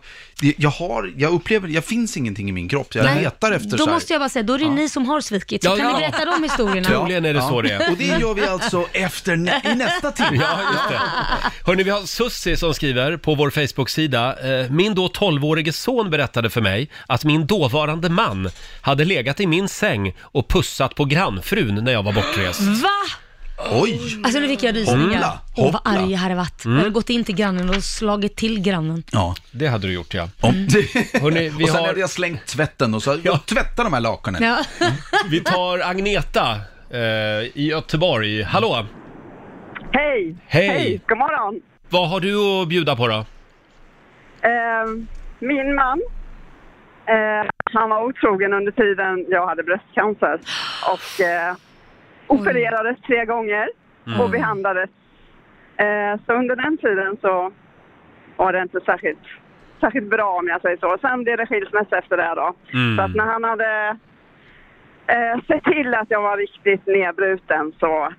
Speaker 11: jag, har, jag upplever, jag finns ingenting i min kropp. Jag
Speaker 2: Nej,
Speaker 11: letar efter
Speaker 2: Då
Speaker 11: så här.
Speaker 2: måste jag bara säga, då är det ni som har svikit. Så
Speaker 11: Ja,
Speaker 2: kan
Speaker 11: ja.
Speaker 2: ni berätta de historierna?
Speaker 11: Och det gör vi alltså efter nä- i nästa timme.
Speaker 1: Ja, just det. Hörni, vi har Sussi som skriver på vår Facebook-sida. eh, Min då 12-årige son berättade för mig att min dåvarande man hade legat i min säng och pussat på grannfrun när jag var bortrest.
Speaker 2: Va?
Speaker 11: Mm. Oj!
Speaker 2: Alltså nu fick jag rysningar.
Speaker 11: Hoppla,
Speaker 2: Åh, vad
Speaker 11: hoppla.
Speaker 2: arg jag hade varit.
Speaker 11: Mm.
Speaker 2: Jag hade gått in till grannen och slagit till grannen.
Speaker 11: Ja.
Speaker 1: Det hade du gjort ja. Mm.
Speaker 11: och sen hade jag slängt tvätten och så, tvätta de här lakanen.
Speaker 2: Ja.
Speaker 1: Vi tar Agneta eh, i Göteborg. Hallå!
Speaker 16: Hej!
Speaker 1: Hej.
Speaker 16: God morgon!
Speaker 1: Vad har du att bjuda på då?
Speaker 16: Eh, min man, eh, han var otrogen under tiden jag hade bröstcancer och eh, opererades tre gånger och
Speaker 17: Mm.
Speaker 16: behandlades. Eh, så under den tiden så var det inte särskilt, särskilt bra om jag säger så. Sen blev det skilsmässa efter det här då.
Speaker 17: Mm.
Speaker 16: Så att när han hade eh, sett till att jag var riktigt nedbruten så,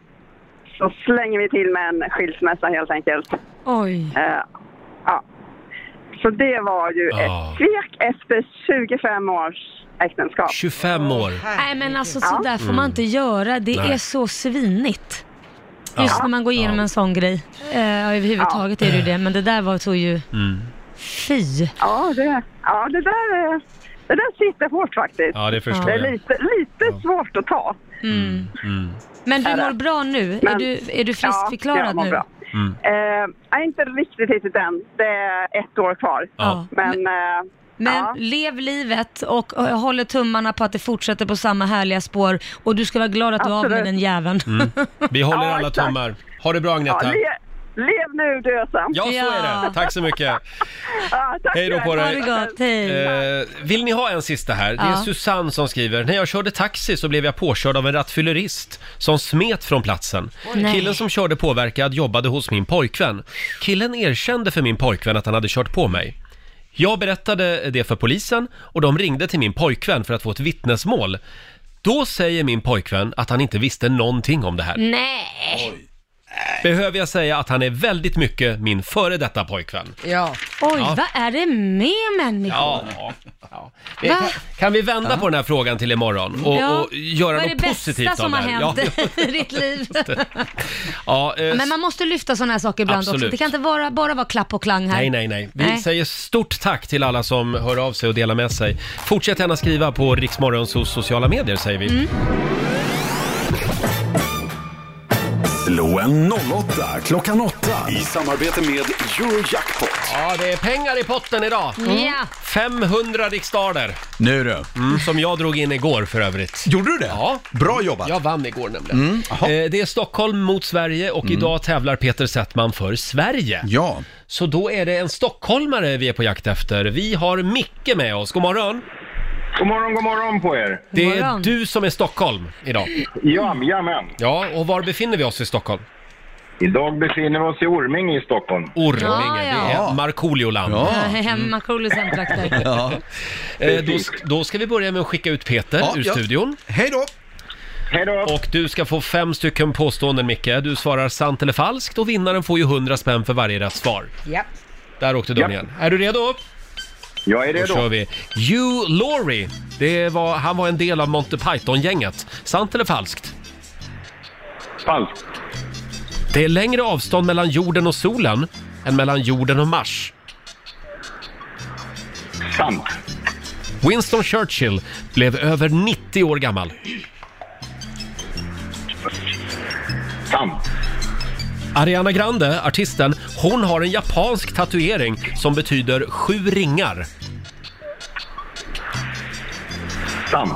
Speaker 16: så slänger vi till med en skilsmässa helt enkelt.
Speaker 2: Oj.
Speaker 16: Eh, ja. Så det var ju
Speaker 1: Ja.
Speaker 16: ett svek efter 25 års äktenskap.
Speaker 1: 25 år.
Speaker 2: Nej men alltså sådär får
Speaker 11: Mm.
Speaker 2: man inte göra. Det
Speaker 1: Nej.
Speaker 2: är så svinigt. Just
Speaker 1: Ja.
Speaker 2: när man går igenom en sån grej. Eh, ja, överhuvudtaget är det ju det, men det där var så ju...
Speaker 1: Mm.
Speaker 2: Fy!
Speaker 16: Ja, det, ja, det där är... Det där sitter hårt faktiskt.
Speaker 1: Ja, det förstår
Speaker 16: Det
Speaker 1: jag.
Speaker 16: är lite, lite svårt att ta.
Speaker 2: Mm. Men du mår bra nu? är, du, är du
Speaker 16: ja,
Speaker 2: friskförklarad
Speaker 16: jag mår
Speaker 2: nu?
Speaker 16: Bra. Eh, nej, inte riktigt riktigt än. Det är ett år kvar.
Speaker 2: Ja.
Speaker 16: Men, eh,
Speaker 2: Men
Speaker 16: ja.
Speaker 2: lev livet och eh, håller tummarna på att det fortsätter på samma härliga spår och du ska vara glad att du är av med
Speaker 16: Absolut.
Speaker 2: den jäveln.
Speaker 1: Mm. Vi håller alla
Speaker 2: exakt.
Speaker 1: tummar. Ha det bra
Speaker 16: ja,
Speaker 1: Agneta.
Speaker 16: le, lev nu, dö sen.
Speaker 1: Ja, så är det. Tack så mycket.
Speaker 16: Ja, tack
Speaker 1: Hej då på
Speaker 16: själv.
Speaker 1: dig. Eh, vill ni ha en sista här? Det är
Speaker 16: Ja.
Speaker 1: Susanne som skriver. När jag körde taxi så blev jag påkörd av en rattfyllerist som smet från platsen.
Speaker 5: Oj. Nej.
Speaker 1: Killen som körde påverkad jobbade hos min pojkvän. Killen erkände för min pojkvän att han hade kört på mig. Jag berättade det för polisen och de ringde till min pojkvän för att få ett vittnesmål. Då säger min pojkvän att han inte visste någonting om det
Speaker 2: Mm.
Speaker 1: här.
Speaker 2: Nej!
Speaker 1: Behöver jag säga att han är väldigt mycket min före detta pojkvän.
Speaker 3: Ja.
Speaker 2: Oj,
Speaker 1: Ja.
Speaker 2: vad är det med människor?
Speaker 1: Ja. Vi-
Speaker 2: Va?
Speaker 1: Kan, kan vi vända på den här frågan till imorgon och, och göra
Speaker 2: Vad är
Speaker 1: något
Speaker 2: det
Speaker 1: positivt
Speaker 2: bästa som
Speaker 1: av det
Speaker 2: har
Speaker 1: här?
Speaker 2: hänt
Speaker 1: Ja,
Speaker 2: i ditt liv?
Speaker 1: ja, eh,
Speaker 2: Men man måste lyfta sådana här saker ibland också.
Speaker 1: Absolut.
Speaker 2: Det kan inte vara, bara vara klapp och klang här.
Speaker 1: Nej, nej, nej. Vi
Speaker 2: Nej.
Speaker 1: säger stort tack till alla som hör av sig och delar med sig. Fortsätt gärna skriva på Riksmorgonsos sociala medier säger vi.
Speaker 2: Mm.
Speaker 4: Slå en 08 klockan 8 i samarbete med Eurojackpot.
Speaker 1: Ja, det är pengar i potten idag.
Speaker 4: Mm.
Speaker 2: Ja.
Speaker 1: 500 riksdaler.
Speaker 11: Nu du.
Speaker 1: Mm, som jag drog in igår för övrigt.
Speaker 11: Gjorde du det?
Speaker 1: Ja.
Speaker 11: Bra jobbat.
Speaker 1: Jag vann igår nämligen. Eh, det är Stockholm mot Sverige och idag tävlar Peter Settman för Sverige.
Speaker 11: Ja.
Speaker 1: Så då är det en stockholmare vi är på jakt efter. Vi har Micke med oss. God morgon!
Speaker 18: God morgon, god morgon på er!
Speaker 1: Det
Speaker 18: God
Speaker 1: är
Speaker 18: morgon.
Speaker 1: du som är Stockholm idag.
Speaker 18: Jajamän!
Speaker 1: Ja, och var befinner vi oss i Stockholm?
Speaker 18: Idag befinner vi oss i Orminge i Stockholm.
Speaker 1: Orminge,
Speaker 2: Ja, ja.
Speaker 1: det är Markoolio-land.
Speaker 2: Hemma Markoolios
Speaker 1: Mm.
Speaker 2: hemtrakter.
Speaker 1: Eh, då, sk- då ska vi börja med att skicka ut Peter
Speaker 11: Ja,
Speaker 1: ur
Speaker 11: ja.
Speaker 1: studion.
Speaker 11: Hej då!
Speaker 18: Hej då!
Speaker 1: Och du ska få fem stycken påståenden Micke. Du svarar sant eller falskt och vinnaren får ju 100 spänn för varje rätt svar.
Speaker 3: Ja.
Speaker 1: Där åkte dörren
Speaker 18: Ja.
Speaker 1: igen. Är du redo?
Speaker 18: Jag är redo.
Speaker 1: Då kör vi. Hugh Laurie, det var, han var en del av Monty Python-gänget. Sant eller falskt?
Speaker 18: Falskt.
Speaker 1: Det är längre avstånd mellan jorden och solen än mellan jorden och Mars.
Speaker 18: Sant.
Speaker 1: Winston Churchill blev över 90 år gammal.
Speaker 18: Sant.
Speaker 1: Ariana Grande, artisten, hon har en japansk tatuering som betyder sju ringar.
Speaker 18: Sant.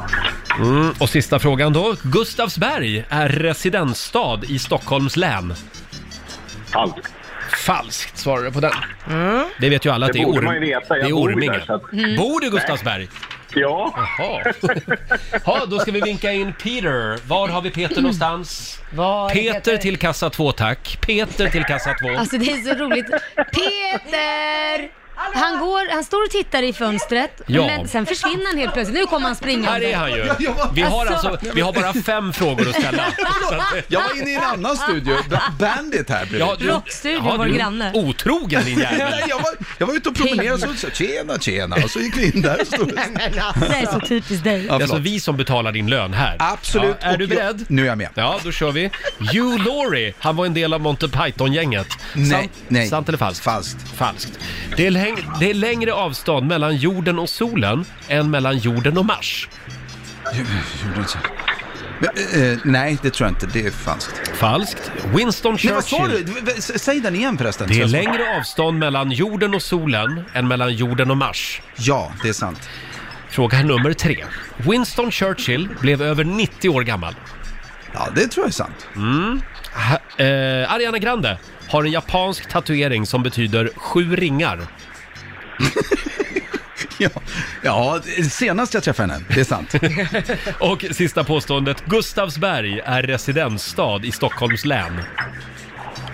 Speaker 1: Mm, och sista frågan då. Gustavsberg är residensstad i Stockholms län.
Speaker 18: Falskt.
Speaker 1: Falskt svarar du på den.
Speaker 2: Mm.
Speaker 1: Det vet ju alla att det,
Speaker 18: Det borde
Speaker 1: är,
Speaker 18: man
Speaker 1: orm...
Speaker 18: ju veta.
Speaker 1: det
Speaker 18: Jag
Speaker 1: är
Speaker 18: bor ju
Speaker 1: Orminge.
Speaker 18: där, så att-
Speaker 1: Mm. Bor du i Gustavsberg?
Speaker 18: Ja.
Speaker 1: Jaha. Ja, då ska vi vinka in Peter. Var har vi Peter någonstans?
Speaker 2: Var är
Speaker 1: Peter
Speaker 2: Peter?
Speaker 1: till kassa 2 tack. Peter till kassa 2.
Speaker 2: Alltså det är så roligt. Peter! Han, går, han står och tittar i fönstret,
Speaker 1: Ja.
Speaker 2: men sen försvinner han helt plötsligt. Nu kommer han springande.
Speaker 1: Här är han ju. Vi har alltså, vi har bara fem frågor att ställa.
Speaker 11: Jag var inne i en annan studio, Ba- Bandit här bredvid.
Speaker 1: Ja, du- Rockstudio, ja, vår du- granne. otrogen, din jävel.
Speaker 11: Nej, jag, var, jag var ute och promenerade och så sa tjena, tjena. Och så gick vi in där och stod
Speaker 2: alltså. Det är så typiskt dig.
Speaker 1: Det är alltså vi som betalar din lön här.
Speaker 11: Absolut.
Speaker 1: Ja, är
Speaker 11: Och
Speaker 1: du
Speaker 11: jag-
Speaker 1: beredd?
Speaker 11: nu är jag med.
Speaker 1: Ja, då kör vi. Hugh Laurie, han var en del av Monty Python-gänget.
Speaker 11: Nej,
Speaker 1: sant,
Speaker 11: nej.
Speaker 1: sant eller falskt? Falskt. Falskt. Det är, läng- det är längre avstånd mellan jorden och solen än mellan jorden och Mars.
Speaker 11: Eh, eh, nej, det tror jag inte. Det är falskt.
Speaker 1: Falskt? Winston
Speaker 11: Nej, vad sa du?
Speaker 1: Churchill.
Speaker 11: V- v- s- Säg den igen förresten.
Speaker 1: Det är
Speaker 11: Så jag-
Speaker 1: längre avstånd mellan jorden och solen än mellan jorden och Mars.
Speaker 11: Ja, det är sant.
Speaker 1: Fråga nummer tre. Winston Churchill blev över 90 år gammal.
Speaker 11: Ja, det tror jag är sant.
Speaker 1: Mm. Ha, eh, Ariana Grande har en japansk tatuering som betyder sju ringar.
Speaker 11: Ja, senast jag träffade henne. Det är sant.
Speaker 1: Och sista påståendet. Gustavsberg är residensstad i Stockholms län.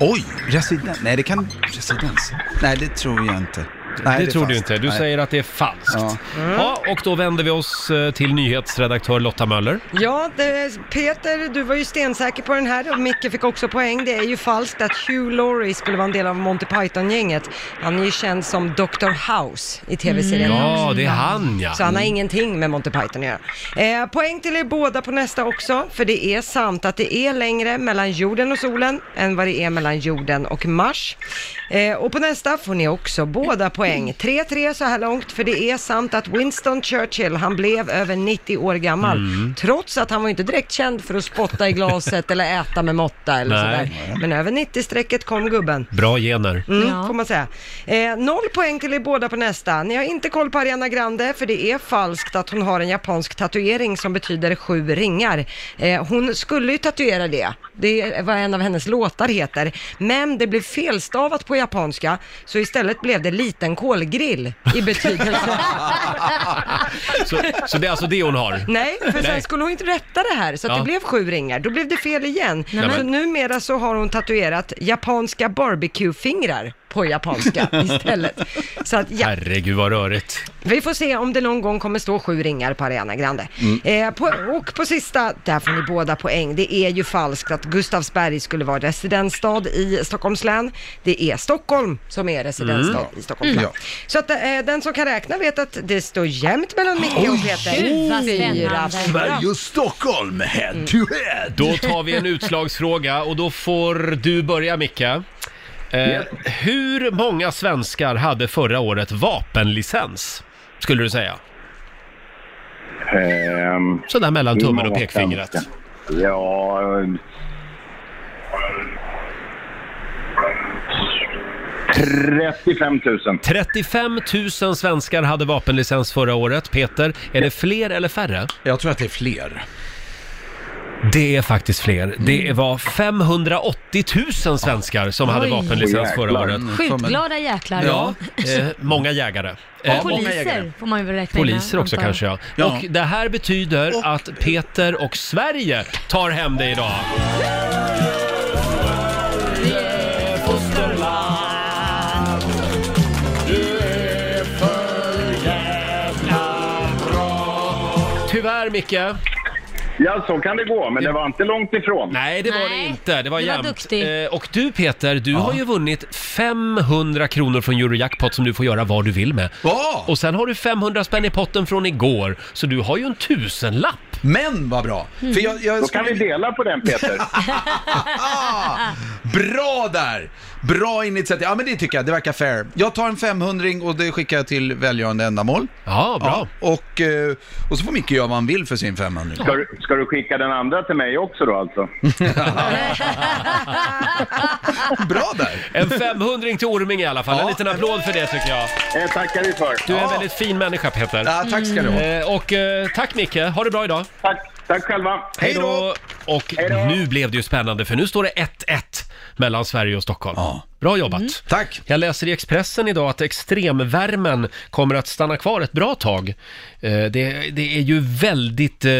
Speaker 11: Oj, residens. Nej, det kan... Residens. Nej, det tror jag inte. Nej,
Speaker 1: det,
Speaker 11: är
Speaker 1: tror du
Speaker 11: falskt.
Speaker 1: inte. Du
Speaker 11: Nej.
Speaker 1: säger att det är falskt. Mm. Ja.
Speaker 11: Ja.
Speaker 1: och då vänder vi oss eh, till nyhetsredaktör Lotta Möller.
Speaker 3: Ja, det, Peter, du var ju stensäker på den här och Micke fick också poäng. Det är ju falskt att Hugh Laurie skulle vara en del av Monty Python-gänget. Han är ju känd som Dr. House i tv-serien
Speaker 1: Mm.
Speaker 3: House.
Speaker 1: Ja, det är han, ja.
Speaker 3: Så han har
Speaker 1: Mm.
Speaker 3: ingenting med Monty Python att göra. Eh, poäng till er båda på nästa också, för det är sant att det är längre mellan jorden och solen än vad det är mellan jorden och Mars. Eh, och på nästa får ni också båda poäng. 3-3 så här långt, för det är sant att Winston Churchill, han blev över 90 år gammal.
Speaker 5: Mm.
Speaker 3: Trots att han var inte direkt känd för att spotta i glaset eller äta med måtta eller
Speaker 1: Nej.
Speaker 3: sådär. Men över 90-strecket kom gubben.
Speaker 1: Bra gener.
Speaker 3: Mm, får man säga. Eh, noll poäng till er båda på nästa. Ni har inte koll på Ariana Grande, för det är falskt att hon har en japansk tatuering som betyder sju ringar. Eh, hon skulle ju tatuera det. Det är vad en av hennes låtar heter. Men det blev felstavat på japanska, så istället blev det liten kolgrill i betydelse.
Speaker 1: Så, så det är alltså det hon har?
Speaker 3: Nej, för sen skulle hon inte rätta det här, så att
Speaker 1: Ja.
Speaker 3: det blev sju ringar. Då blev det fel igen.
Speaker 1: Nej,
Speaker 3: Så
Speaker 1: men-
Speaker 3: numera så har hon tatuerat japanska barbecuefingrar på japanska istället. Så att ja,
Speaker 1: Herregud vad rörigt.
Speaker 3: vi får se om det någon gång kommer stå sju ringar på Ariana Grande.
Speaker 1: Mm.
Speaker 3: Eh, på, och på sista, där får ni båda poäng. Det är ju falskt att Gustavsberg skulle vara residensstad i Stockholms län. Det är Stockholm som är residensstad
Speaker 5: Mm.
Speaker 3: i Stockholms län.
Speaker 5: Mm.
Speaker 3: Så att eh, den som kan räkna vet att det står jämnt mellan Micke och Peter.
Speaker 5: Gud, vad
Speaker 3: Fyra,
Speaker 5: spännande.
Speaker 3: fyra.
Speaker 5: Sverige
Speaker 11: och Stockholm, head to head.
Speaker 1: Då tar vi en utslagsfråga och då får du börja Micke. Eh, hur många svenskar hade förra året vapenlicens? Skulle du säga?
Speaker 18: Ehm,
Speaker 1: Sådär mellan
Speaker 18: hur
Speaker 1: tummen och
Speaker 18: många
Speaker 1: pekfingret.
Speaker 18: svenskar? Ja... ehm, Trettiofem tusen.
Speaker 1: 35 000 svenskar hade vapenlicens förra året. Peter, är det fler eller färre?
Speaker 11: Jag tror att det är fler. Mm.
Speaker 1: Det är faktiskt fler. Det var 580 000 svenskar som hade
Speaker 2: Oj.
Speaker 1: vapenlicens förra
Speaker 2: Jäklar.
Speaker 1: året.
Speaker 2: Skjutglada jäklar.
Speaker 1: Ja, eh, många jägare. Eh,
Speaker 2: Och poliser får man väl räkna in,
Speaker 1: Poliser också
Speaker 2: antar jag.
Speaker 1: kanske ja. Och det här betyder att Peter och Sverige tar hem det idag. Tyvärr Micke.
Speaker 18: Ja, så kan det gå, men det var inte långt ifrån.
Speaker 1: Nej, det var det inte. Det var
Speaker 18: du var
Speaker 1: jämnt.
Speaker 18: duktig.
Speaker 1: Eh, Och du Peter, du har ju vunnit 500 kronor från Eurojackpot som du får göra vad du vill med. Och sen har du 500 spänn i potten från igår, så du har ju en tusenlapp.
Speaker 11: Men vad bra! Mm. För jag, jag
Speaker 18: Då kan vi dela på den Peter.
Speaker 11: Bra där! Bra initiativ. Ja, men det tycker jag. Det verkar fair. Jag tar en 500 och det skickar jag till välgörande ändamål.
Speaker 1: Ja,
Speaker 11: bra. och, eh, och så får Micke göra vad han vill för sin 500
Speaker 18: Ska du, ska du skicka den andra till mig också då alltså?
Speaker 11: Bra där!
Speaker 1: En 500 till Orming i alla fall. En
Speaker 18: Ja.
Speaker 1: liten applåd för det tycker jag.
Speaker 18: Det Eh, tackar vi för.
Speaker 1: Du är en väldigt fin människa Peter.
Speaker 18: Ja, tack ska du ha.
Speaker 1: Eh, Och eh, tack Micke, ha det bra idag.
Speaker 18: Tack, tack själva.
Speaker 1: Hej då! Och nu blev det ju spännande för nu står det 1-1 mellan Sverige och Stockholm. Bra jobbat!
Speaker 11: Tack!
Speaker 1: Jag läser i Expressen idag att extremvärmen kommer att stanna kvar ett bra tag. Eh, Det, det är ju väldigt eh,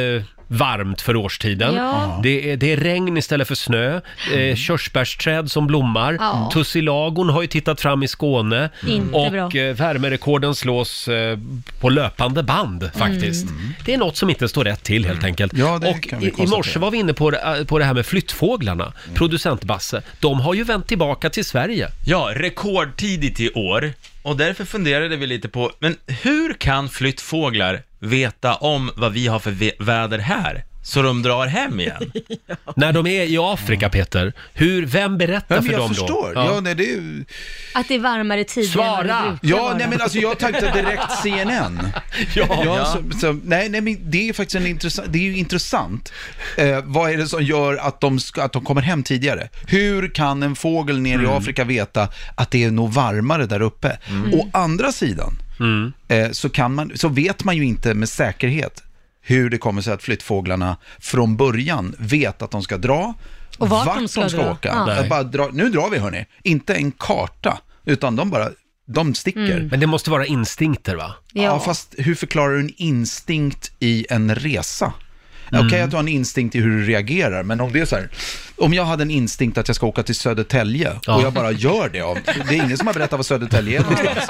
Speaker 1: varmt för årstiden.
Speaker 5: Ja.
Speaker 1: Det, är, det är regn istället för snö, eh, körsbärsträd som blommar,
Speaker 5: Ja.
Speaker 1: tussilagon har ju tittat fram i Skåne
Speaker 5: Inte
Speaker 1: och
Speaker 5: bra.
Speaker 1: eh, värmerekorden slås eh, på löpande band faktiskt. Det är något som inte står rätt till helt enkelt. och
Speaker 11: kan vi
Speaker 1: i, i morse
Speaker 11: konstatera. Mm.
Speaker 1: var vi inne på det, äh, på det här med flyttfåglarna, producent Basse. De har ju vänt tillbaka till Sverige.
Speaker 6: Ja, rekordtidigt i år. Och därför funderade vi lite på, men hur kan flyttfåglar veta om vad vi har för ve- väder här? Så de drar hem igen?
Speaker 1: När de är i Afrika, Peter, hur, vem berättar
Speaker 11: Ja, men
Speaker 1: för
Speaker 11: jag
Speaker 1: dem
Speaker 11: förstår.
Speaker 1: då?
Speaker 11: Ja, nej, det är...
Speaker 2: Att det är varmare tidigare än vad det brukar
Speaker 11: Ja,
Speaker 2: vara.
Speaker 11: nej men alltså jag tänkte direkt CNN.
Speaker 1: Ja. Ja.
Speaker 11: Så, så, nej, nej men det är faktiskt en intressant, det är ju intressant. Eh, vad är det som gör att de, ska, att de kommer hem tidigare? Hur kan en fågel nere
Speaker 1: Mm.
Speaker 11: i Afrika veta att det är nog varmare där uppe?
Speaker 1: Mm.
Speaker 11: Å andra sidan eh, så, kan man, så vet man ju inte med säkerhet hur det kommer sig att flyttfåglarna från början vet att de ska dra,
Speaker 2: Och vart de ska dra. Ah.
Speaker 11: åka.
Speaker 2: Ja.
Speaker 11: Att Bara dra, nu drar vi hörni, inte en karta, utan de bara, de sticker.
Speaker 2: Mm.
Speaker 1: Men det måste vara instinkter va?
Speaker 11: Ja.
Speaker 1: Ja.
Speaker 11: fast hur förklarar du en instinkt i en resa?
Speaker 1: Mm.
Speaker 11: Okej att du har en instinkt i hur du reagerar, men om det är så här, om jag hade en instinkt att jag ska åka till Södertälje och jag bara gör det, av, det är ingen som har berättat vad Södertälje är någonstans.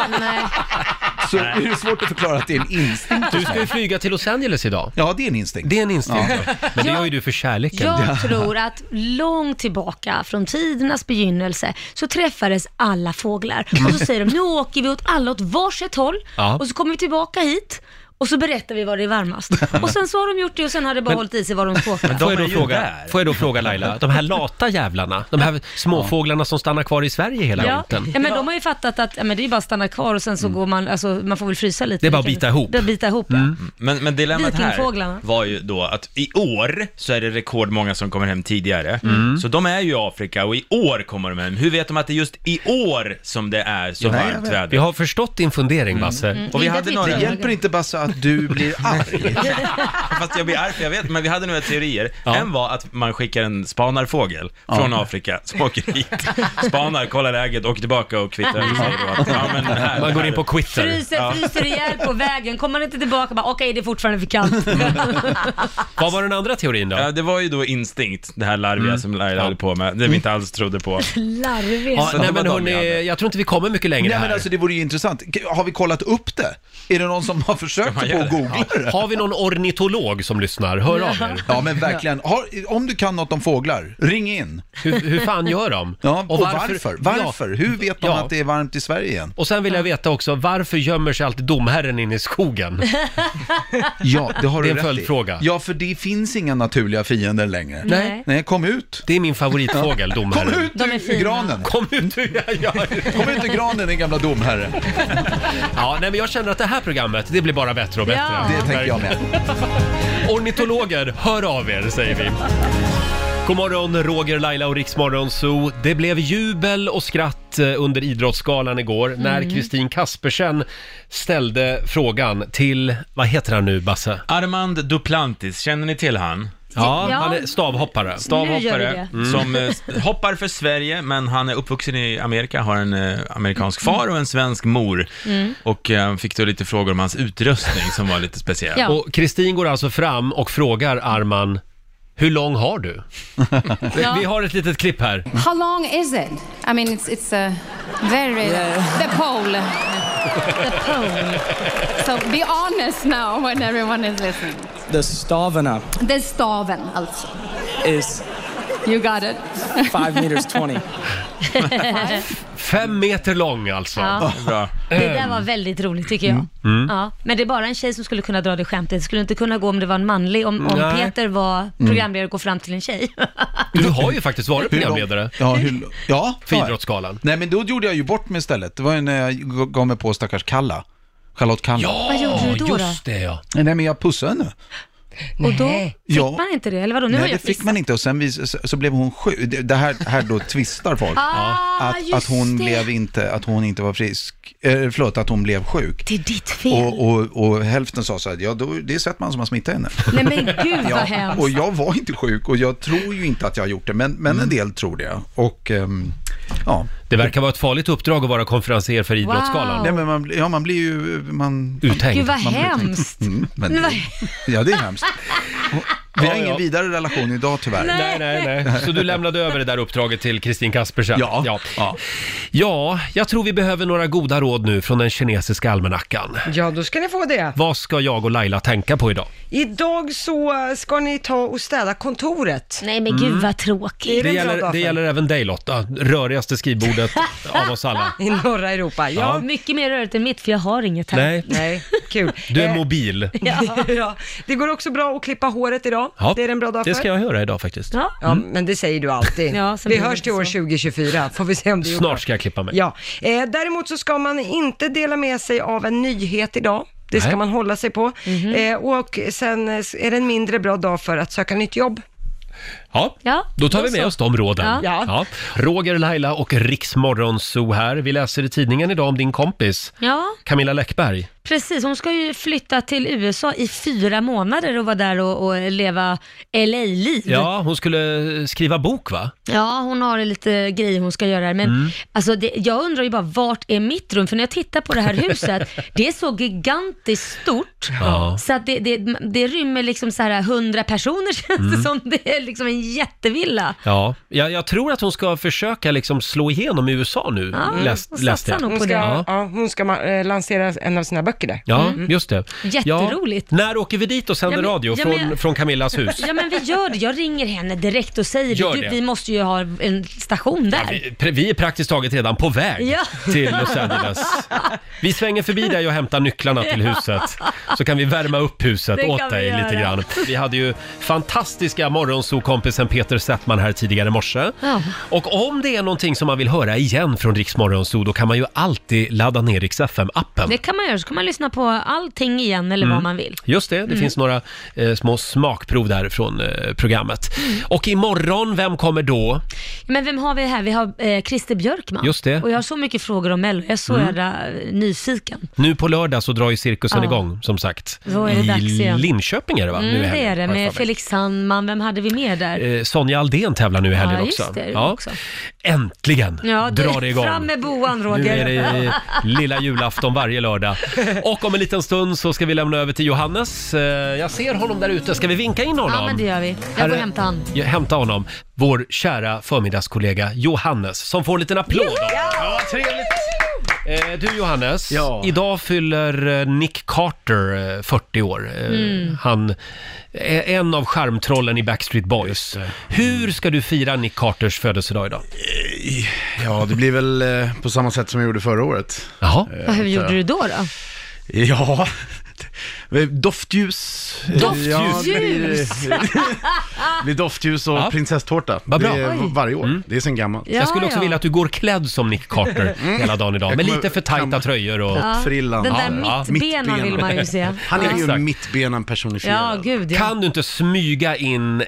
Speaker 11: Så är det svårt att förklara att det är en instinkt
Speaker 1: Du ska ju flyga till Los Angeles idag.
Speaker 11: Ja, det är en instinkt.
Speaker 1: Det är en instinkt. Men det gör ju du för kärleken.
Speaker 2: Jag tror att långt tillbaka från tidernas begynnelse så träffades alla fåglar och så säger de nu åker vi åt alla åt varsitt håll
Speaker 1: Ja.
Speaker 2: och så kommer vi tillbaka hit och så berättar vi var det är varmast. Och sen så har de gjort det och sen har det bara
Speaker 1: Men-
Speaker 2: hållit i sig var de ska åka.
Speaker 1: Men får, jag då fråga, får jag då fråga Laila, de här lata jävlarna, de här småfåglarna som stannar kvar i Sverige hela
Speaker 2: Ja. ja,
Speaker 1: vintern.
Speaker 2: men de har ju fattat att ja, men det är bara att stanna kvar och sen så går man, alltså man får väl frysa lite.
Speaker 6: Mm. Det är bara att
Speaker 2: Vilken-
Speaker 6: bita ihop.
Speaker 2: Det är att bita ihop, ja.
Speaker 6: Mm. Men, men dilemmat
Speaker 2: Vikingfåglarna.
Speaker 6: här var ju då att i år så är det rekordmånga som kommer hem tidigare.
Speaker 2: Mm.
Speaker 6: Så de är ju i Afrika och i år kommer de hem. Hur vet de att det är just i år som det är så
Speaker 1: Ja, nej, jag
Speaker 6: varmt
Speaker 1: vet.
Speaker 6: väder? Mm.
Speaker 1: Vi har förstått din fundering Basse.
Speaker 6: Och vi hade några...
Speaker 11: Det hjälper inte bara så att du blir arg.
Speaker 6: Fast jag blir arg för jag vet, men vi hade några teorier. En var att man skickar en spanarfågel
Speaker 11: Ja.
Speaker 6: från Afrika, som åker hit, spanar, kollar läget, åker tillbaka och kvittar. Och säger då att, ja, men här,
Speaker 1: Man går in på
Speaker 6: quitter.
Speaker 2: Fryser, fryser ihjäl på vägen, kommer man inte tillbaka bara okej det är fortfarande för kallt.
Speaker 1: Vad var den andra teorin då? Mm.
Speaker 6: Ja, det var ju då instinkt, det här larviga som Laila höll på med, det vi inte alls trodde på.
Speaker 2: Larvigt.
Speaker 1: Ja,
Speaker 6: Så
Speaker 1: nej,
Speaker 6: det var
Speaker 1: men
Speaker 6: de
Speaker 1: hon
Speaker 6: jag hade.
Speaker 1: jag tror inte vi kommer mycket längre
Speaker 11: Nej men
Speaker 1: här.
Speaker 11: alltså det vore ju intressant. Har vi kollat upp det? Är det någon som har försökt
Speaker 1: man
Speaker 11: sig på
Speaker 1: göra
Speaker 11: att
Speaker 1: det?
Speaker 11: googla
Speaker 1: Ja.
Speaker 11: det?
Speaker 1: Har vi någon ornitolog som lyssnar? Hör av er.
Speaker 11: Ja men verkligen. Har, om du kan något om fåglar, ring in.
Speaker 1: Hur, hur fan gör de?
Speaker 11: Ja, och, varför? Varför?
Speaker 1: Ja.
Speaker 11: Hur vet de
Speaker 1: Ja.
Speaker 11: att det är varmt i Sverige igen?
Speaker 1: Och sen vill jag veta också, varför gömmer sig alltid domherren inne i skogen?
Speaker 11: Ja, det har
Speaker 1: Det är
Speaker 11: du rätt
Speaker 1: en
Speaker 11: i.
Speaker 1: följdfråga.
Speaker 11: Ja, för det finns inga naturliga fiender längre.
Speaker 1: Nej.
Speaker 11: Nej, kom ut.
Speaker 1: Det är min favoritfågel, domherren.
Speaker 11: Kom ut
Speaker 1: De är
Speaker 11: ur
Speaker 1: fina.
Speaker 11: granen.
Speaker 1: Kom ut ur, ja, ja.
Speaker 11: Kom ut ur granen, din gamla domherre.
Speaker 1: Ja, nej men jag känner att det här programmet, det blir bara bättre och bättre.
Speaker 2: Ja.
Speaker 11: Det tänker jag med.
Speaker 1: Ornitologer, hör av er säger vi. God morgon, Roger, Laila och Riksmorgon Zoo. Det blev jubel och skratt eh, under Idrottsgalan igår när
Speaker 6: Mm.
Speaker 1: Kristin Kaspersen ställde frågan till, vad heter han nu Basse?
Speaker 6: Armand Duplantis, känner ni till han?
Speaker 1: Ja, Ja. han är stavhoppare. Nu gör vi
Speaker 6: Stavhoppare,
Speaker 1: det. Mm.
Speaker 6: som eh, s- hoppar för Sverige, men han är uppvuxen i Amerika, har en eh, amerikansk far och en svensk mor.
Speaker 1: Mm.
Speaker 6: Och eh, fick då lite frågor om hans utrustning som var lite speciell.
Speaker 1: Och Kristin går alltså fram och frågar Arman, hur lång har du? Vi- Vi har ett litet klipp här.
Speaker 7: How long is it? I mean, it's it's a very the pole. The
Speaker 2: Mm.
Speaker 7: pole. So be honest now when everyone is listening.
Speaker 17: The Stavena
Speaker 7: The staven, alltså.
Speaker 17: is
Speaker 7: You got it.
Speaker 17: 5 meters 20.
Speaker 1: Fem meter lång alltså.
Speaker 2: Ja.
Speaker 6: Bra.
Speaker 2: Det där var väldigt roligt tycker jag.
Speaker 1: Ehm. Mm.
Speaker 2: Ja, men det är bara en tjej som skulle kunna dra det skämtet. Det skulle inte kunna gå om det var en manlig, om, om
Speaker 1: Nej.
Speaker 2: Peter var programledare och gå fram till en tjej.
Speaker 1: Du har ju faktiskt varit
Speaker 11: Hur lång-
Speaker 1: programledare.
Speaker 11: Ja, hur, ja,
Speaker 1: För
Speaker 11: det har jag.
Speaker 1: Idrottsgalan.
Speaker 11: Nej, men då gjorde jag ju bort mig istället. Det var ju när jag g- gav mig på stackars Kalla. Charlotte Kalla.
Speaker 1: Ja,
Speaker 2: Vad gjorde du då då? just
Speaker 1: det ja.
Speaker 11: Nej, men jag pussade henne.
Speaker 2: Och då fick
Speaker 11: Ja.
Speaker 2: man inte det, eller vadå? Nu har
Speaker 11: Nej, det
Speaker 2: jag
Speaker 11: fick man inte och sen vis, så, så blev hon sjuk. Det, det här, här då tvistar folk.
Speaker 2: Ah,
Speaker 11: att,
Speaker 2: just
Speaker 11: att hon
Speaker 2: det.
Speaker 11: blev inte, att hon inte var frisk. Eh, förlåt, att hon blev sjuk.
Speaker 2: Det är ditt fel.
Speaker 11: Och, och, och hälften sa så här, ja då, det är Svettman som har smittat henne.
Speaker 2: Nej men gud vad hemskt.
Speaker 11: och jag var inte sjuk och jag tror ju inte att jag har gjort det, men, men
Speaker 2: Mm.
Speaker 11: en del tror det. Och ehm, ja.
Speaker 1: Det verkar vara ett farligt uppdrag att vara konferensier för Idrottsgalan.
Speaker 11: Nej, men man, blir- ja, man blir ju... Man,
Speaker 1: Uthängd.
Speaker 2: Gud, vad
Speaker 11: man blir uthängd.
Speaker 2: hemskt.
Speaker 11: Mm, men,
Speaker 2: Men vad-
Speaker 11: ja, det är hemskt. Vi har
Speaker 1: Ja, ja.
Speaker 11: ingen vidare relation idag tyvärr.
Speaker 1: Nej, nej, nej. Så du lämnade över det där uppdraget till Kristin Kaspersen?
Speaker 11: Ja.
Speaker 1: ja. Ja, jag tror vi behöver några goda råd nu från den kinesiska almanackan.
Speaker 3: Ja, då ska ni få det.
Speaker 1: Vad ska jag och Laila tänka på idag?
Speaker 3: Idag så eh, ska ni ta och städa kontoret.
Speaker 1: Mm.
Speaker 2: Nej men gud vad tråkigt.
Speaker 1: Det gäller, det gäller även dig Lotta, rörigaste skrivbordet röret av oss alla.
Speaker 3: I norra Europa, ja.
Speaker 1: Ja.
Speaker 2: Mycket mer rörigt än mitt för jag har inget här.
Speaker 1: Nej.
Speaker 3: Nej, kul.
Speaker 1: Du är
Speaker 3: Eh,
Speaker 1: mobil.
Speaker 3: Ja. Det går också bra att klippa håret idag.
Speaker 1: Ja,
Speaker 3: det är en bra dag för.
Speaker 1: det ska jag göra idag faktiskt. Mm.
Speaker 2: Ja. Mm.
Speaker 3: Ja, men det säger du alltid.
Speaker 2: Ja, sen blir
Speaker 3: Mm. vi
Speaker 2: det
Speaker 3: hörs till år
Speaker 2: så.
Speaker 3: 2024, får vi se om det är
Speaker 1: Snart ska jag klippa mig.
Speaker 3: Ja. Eh, däremot så ska man inte dela med sig av en nyhet idag. Det ska
Speaker 1: Nej.
Speaker 3: man hålla sig på.
Speaker 2: Mhm.
Speaker 3: eh, och sen eh, är det en mindre bra dag för att söka nytt jobb.
Speaker 1: Ja,
Speaker 3: Ja,
Speaker 1: då tar
Speaker 3: då
Speaker 1: vi med
Speaker 3: så.
Speaker 1: oss de råden.
Speaker 3: Ja.
Speaker 1: Roger, Laila och Riksmorgonzoo här. Vi läser i tidningen idag om din kompis
Speaker 2: Ja,
Speaker 1: Camilla Läckberg.
Speaker 2: precis. Hon ska ju flytta till USA i fyra månader och vara där och, och leva LA-liv.
Speaker 1: Ja, hon skulle skriva bok va?
Speaker 2: Ja, hon har lite grejer hon ska göra. Men
Speaker 1: Mm.
Speaker 2: alltså det, jag undrar ju bara, vart är mitt rum? För när jag tittar på det här huset, det är så gigantiskt stort.
Speaker 1: Ja.
Speaker 2: Så att det, det, det rymmer liksom så här 100 personer känns
Speaker 1: Mm.
Speaker 2: det som. Det är liksom en jättevilla.
Speaker 1: Ja, jag, jag tror att hon ska försöka liksom slå igenom i USA nu,
Speaker 2: Ja,
Speaker 1: läs,
Speaker 2: hon
Speaker 1: läste jag.
Speaker 3: Hon ska,
Speaker 1: Ja.
Speaker 3: ja. hon ska ma- eh, lansera en av sina böcker där.
Speaker 1: Ja,
Speaker 3: Mm.
Speaker 1: just det.
Speaker 2: Jätteroligt.
Speaker 1: Ja, när åker vi dit och sänder
Speaker 2: Ja, men-
Speaker 1: radio
Speaker 2: ja,
Speaker 1: från,
Speaker 2: men-
Speaker 1: från Camillas hus?
Speaker 2: Ja men vi gör det. Jag ringer henne direkt och säger
Speaker 1: Gör
Speaker 2: det.
Speaker 1: det.
Speaker 2: Du, vi måste ju ha en station där.
Speaker 1: Pre- Vi är praktiskt taget redan på väg
Speaker 2: Ja.
Speaker 1: till Los Angeles. Vi svänger förbi dig och hämtar nycklarna till
Speaker 2: Ja.
Speaker 1: huset. Så kan vi värma upp huset
Speaker 2: Det
Speaker 1: åt
Speaker 2: kan vi
Speaker 1: dig lite
Speaker 2: göra.
Speaker 1: grann. Vi hade ju fantastiska morgonsokompisen Peter Settman här tidigare i morse.
Speaker 2: Ja.
Speaker 1: Och om det är någonting som man vill höra igen från Rix Morgonzoo, då kan man ju alltid ladda ner Rix FM-appen.
Speaker 2: Det kan man göra, så kan man lyssna på allting igen eller vad
Speaker 1: Mm.
Speaker 2: man vill.
Speaker 1: Just det, det
Speaker 2: Mm.
Speaker 1: finns några eh, små smakprov där från eh, programmet.
Speaker 2: Mm.
Speaker 1: Och imorgon, vem kommer då?
Speaker 2: Men vem har vi här? Vi har eh, Christer Björkman.
Speaker 1: Just det.
Speaker 2: Och jag har så mycket frågor om Mello. Jag är så
Speaker 1: Mm.
Speaker 2: jävla eh, nyfiken.
Speaker 1: Nu på lördag så drar ju cirkusen
Speaker 2: Ja.
Speaker 1: igång, som sagt.
Speaker 2: Då är det
Speaker 1: I
Speaker 2: dags igen.
Speaker 1: Linköping är det va?
Speaker 2: Mm,
Speaker 1: nu i
Speaker 2: det
Speaker 1: helgen,
Speaker 2: är det,
Speaker 1: har jag
Speaker 2: med
Speaker 1: för mig.
Speaker 2: Felix Sandman. Vem hade vi med där?
Speaker 1: Eh, Sonja Aldén tävlar nu i helgen
Speaker 2: Ja, just
Speaker 1: också.
Speaker 2: det, också.
Speaker 1: Äntligen
Speaker 2: Ja, du,
Speaker 1: drar det igång.
Speaker 2: Fram med boan, Roger.
Speaker 1: Nu är det eh, lilla julafton varje lördag. Och om en liten stund så ska vi lämna över till Johannes. Eh, Jag ser honom där ute. Ska vi vinka in honom?
Speaker 2: Ja, men det gör vi. Jag
Speaker 1: Här
Speaker 2: går
Speaker 1: är-
Speaker 2: och hämtar han.
Speaker 1: Ja, Hämta honom. Vår kära förmiddagskollega Johannes som får en liten applåd. av- Ja, trevligt. Eh, Du Johannes, idag fyller eh, Nick Carter eh, 40 år. Eh,
Speaker 5: Mm.
Speaker 1: Han är en av charmtrollen i Backstreet Boys. Hur ska du fira Nick Carters födelsedag idag?
Speaker 19: Eh, Ja, det blir väl eh, på samma sätt som jag gjorde förra året.
Speaker 1: Jaha.
Speaker 2: Vad, hur gjorde du då? då?
Speaker 19: Ja, doftljus.
Speaker 2: Doftljus?
Speaker 19: Ja, det blir, det blir doftljus och prinsesstårta.
Speaker 1: Vad bra.
Speaker 19: Det är
Speaker 1: Oj. Mm.
Speaker 19: varje år. Det är sen gammalt.
Speaker 1: jag skulle också vilja att du går klädd som Nick Carter
Speaker 19: Mm.
Speaker 1: hela dagen idag,
Speaker 19: Jag
Speaker 1: med
Speaker 19: kommer-
Speaker 1: lite för tajta tröjor och...
Speaker 19: Ja, Popfrillan. den där mittbenan
Speaker 2: mittbenan vill man ju se.
Speaker 19: Han är ju
Speaker 1: Exakt.
Speaker 19: en mittbenan personifierad.
Speaker 2: Ja, gud ja.
Speaker 1: Kan du inte smyga in eh,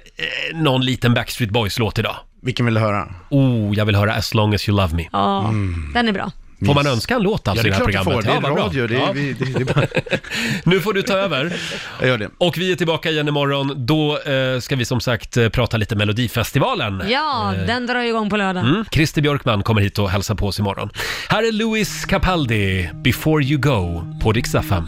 Speaker 1: någon liten Backstreet Boys-låt idag?
Speaker 19: Vilken vill du höra? Mm.
Speaker 1: Oh, jag vill höra As long as you love me.
Speaker 2: Ja, den är bra.
Speaker 1: Mm. Får man önska en låt alltså
Speaker 19: Ja, det är
Speaker 1: i det här
Speaker 19: klart du
Speaker 1: programmet?
Speaker 19: får. Det är
Speaker 1: vad bra.
Speaker 19: radio, det är- vi-
Speaker 1: nu får du ta över.
Speaker 19: Jag gör det.
Speaker 1: Och vi är tillbaka igen imorgon. Då eh, ska vi som sagt eh, prata lite Melodifestivalen.
Speaker 2: Ja,
Speaker 1: Eh,
Speaker 2: den drar igång på lördag.
Speaker 1: Mm. Christer Björkman kommer hit och hälsar på oss imorgon. Här är Louis Capaldi, Before You Go, på Dix FM.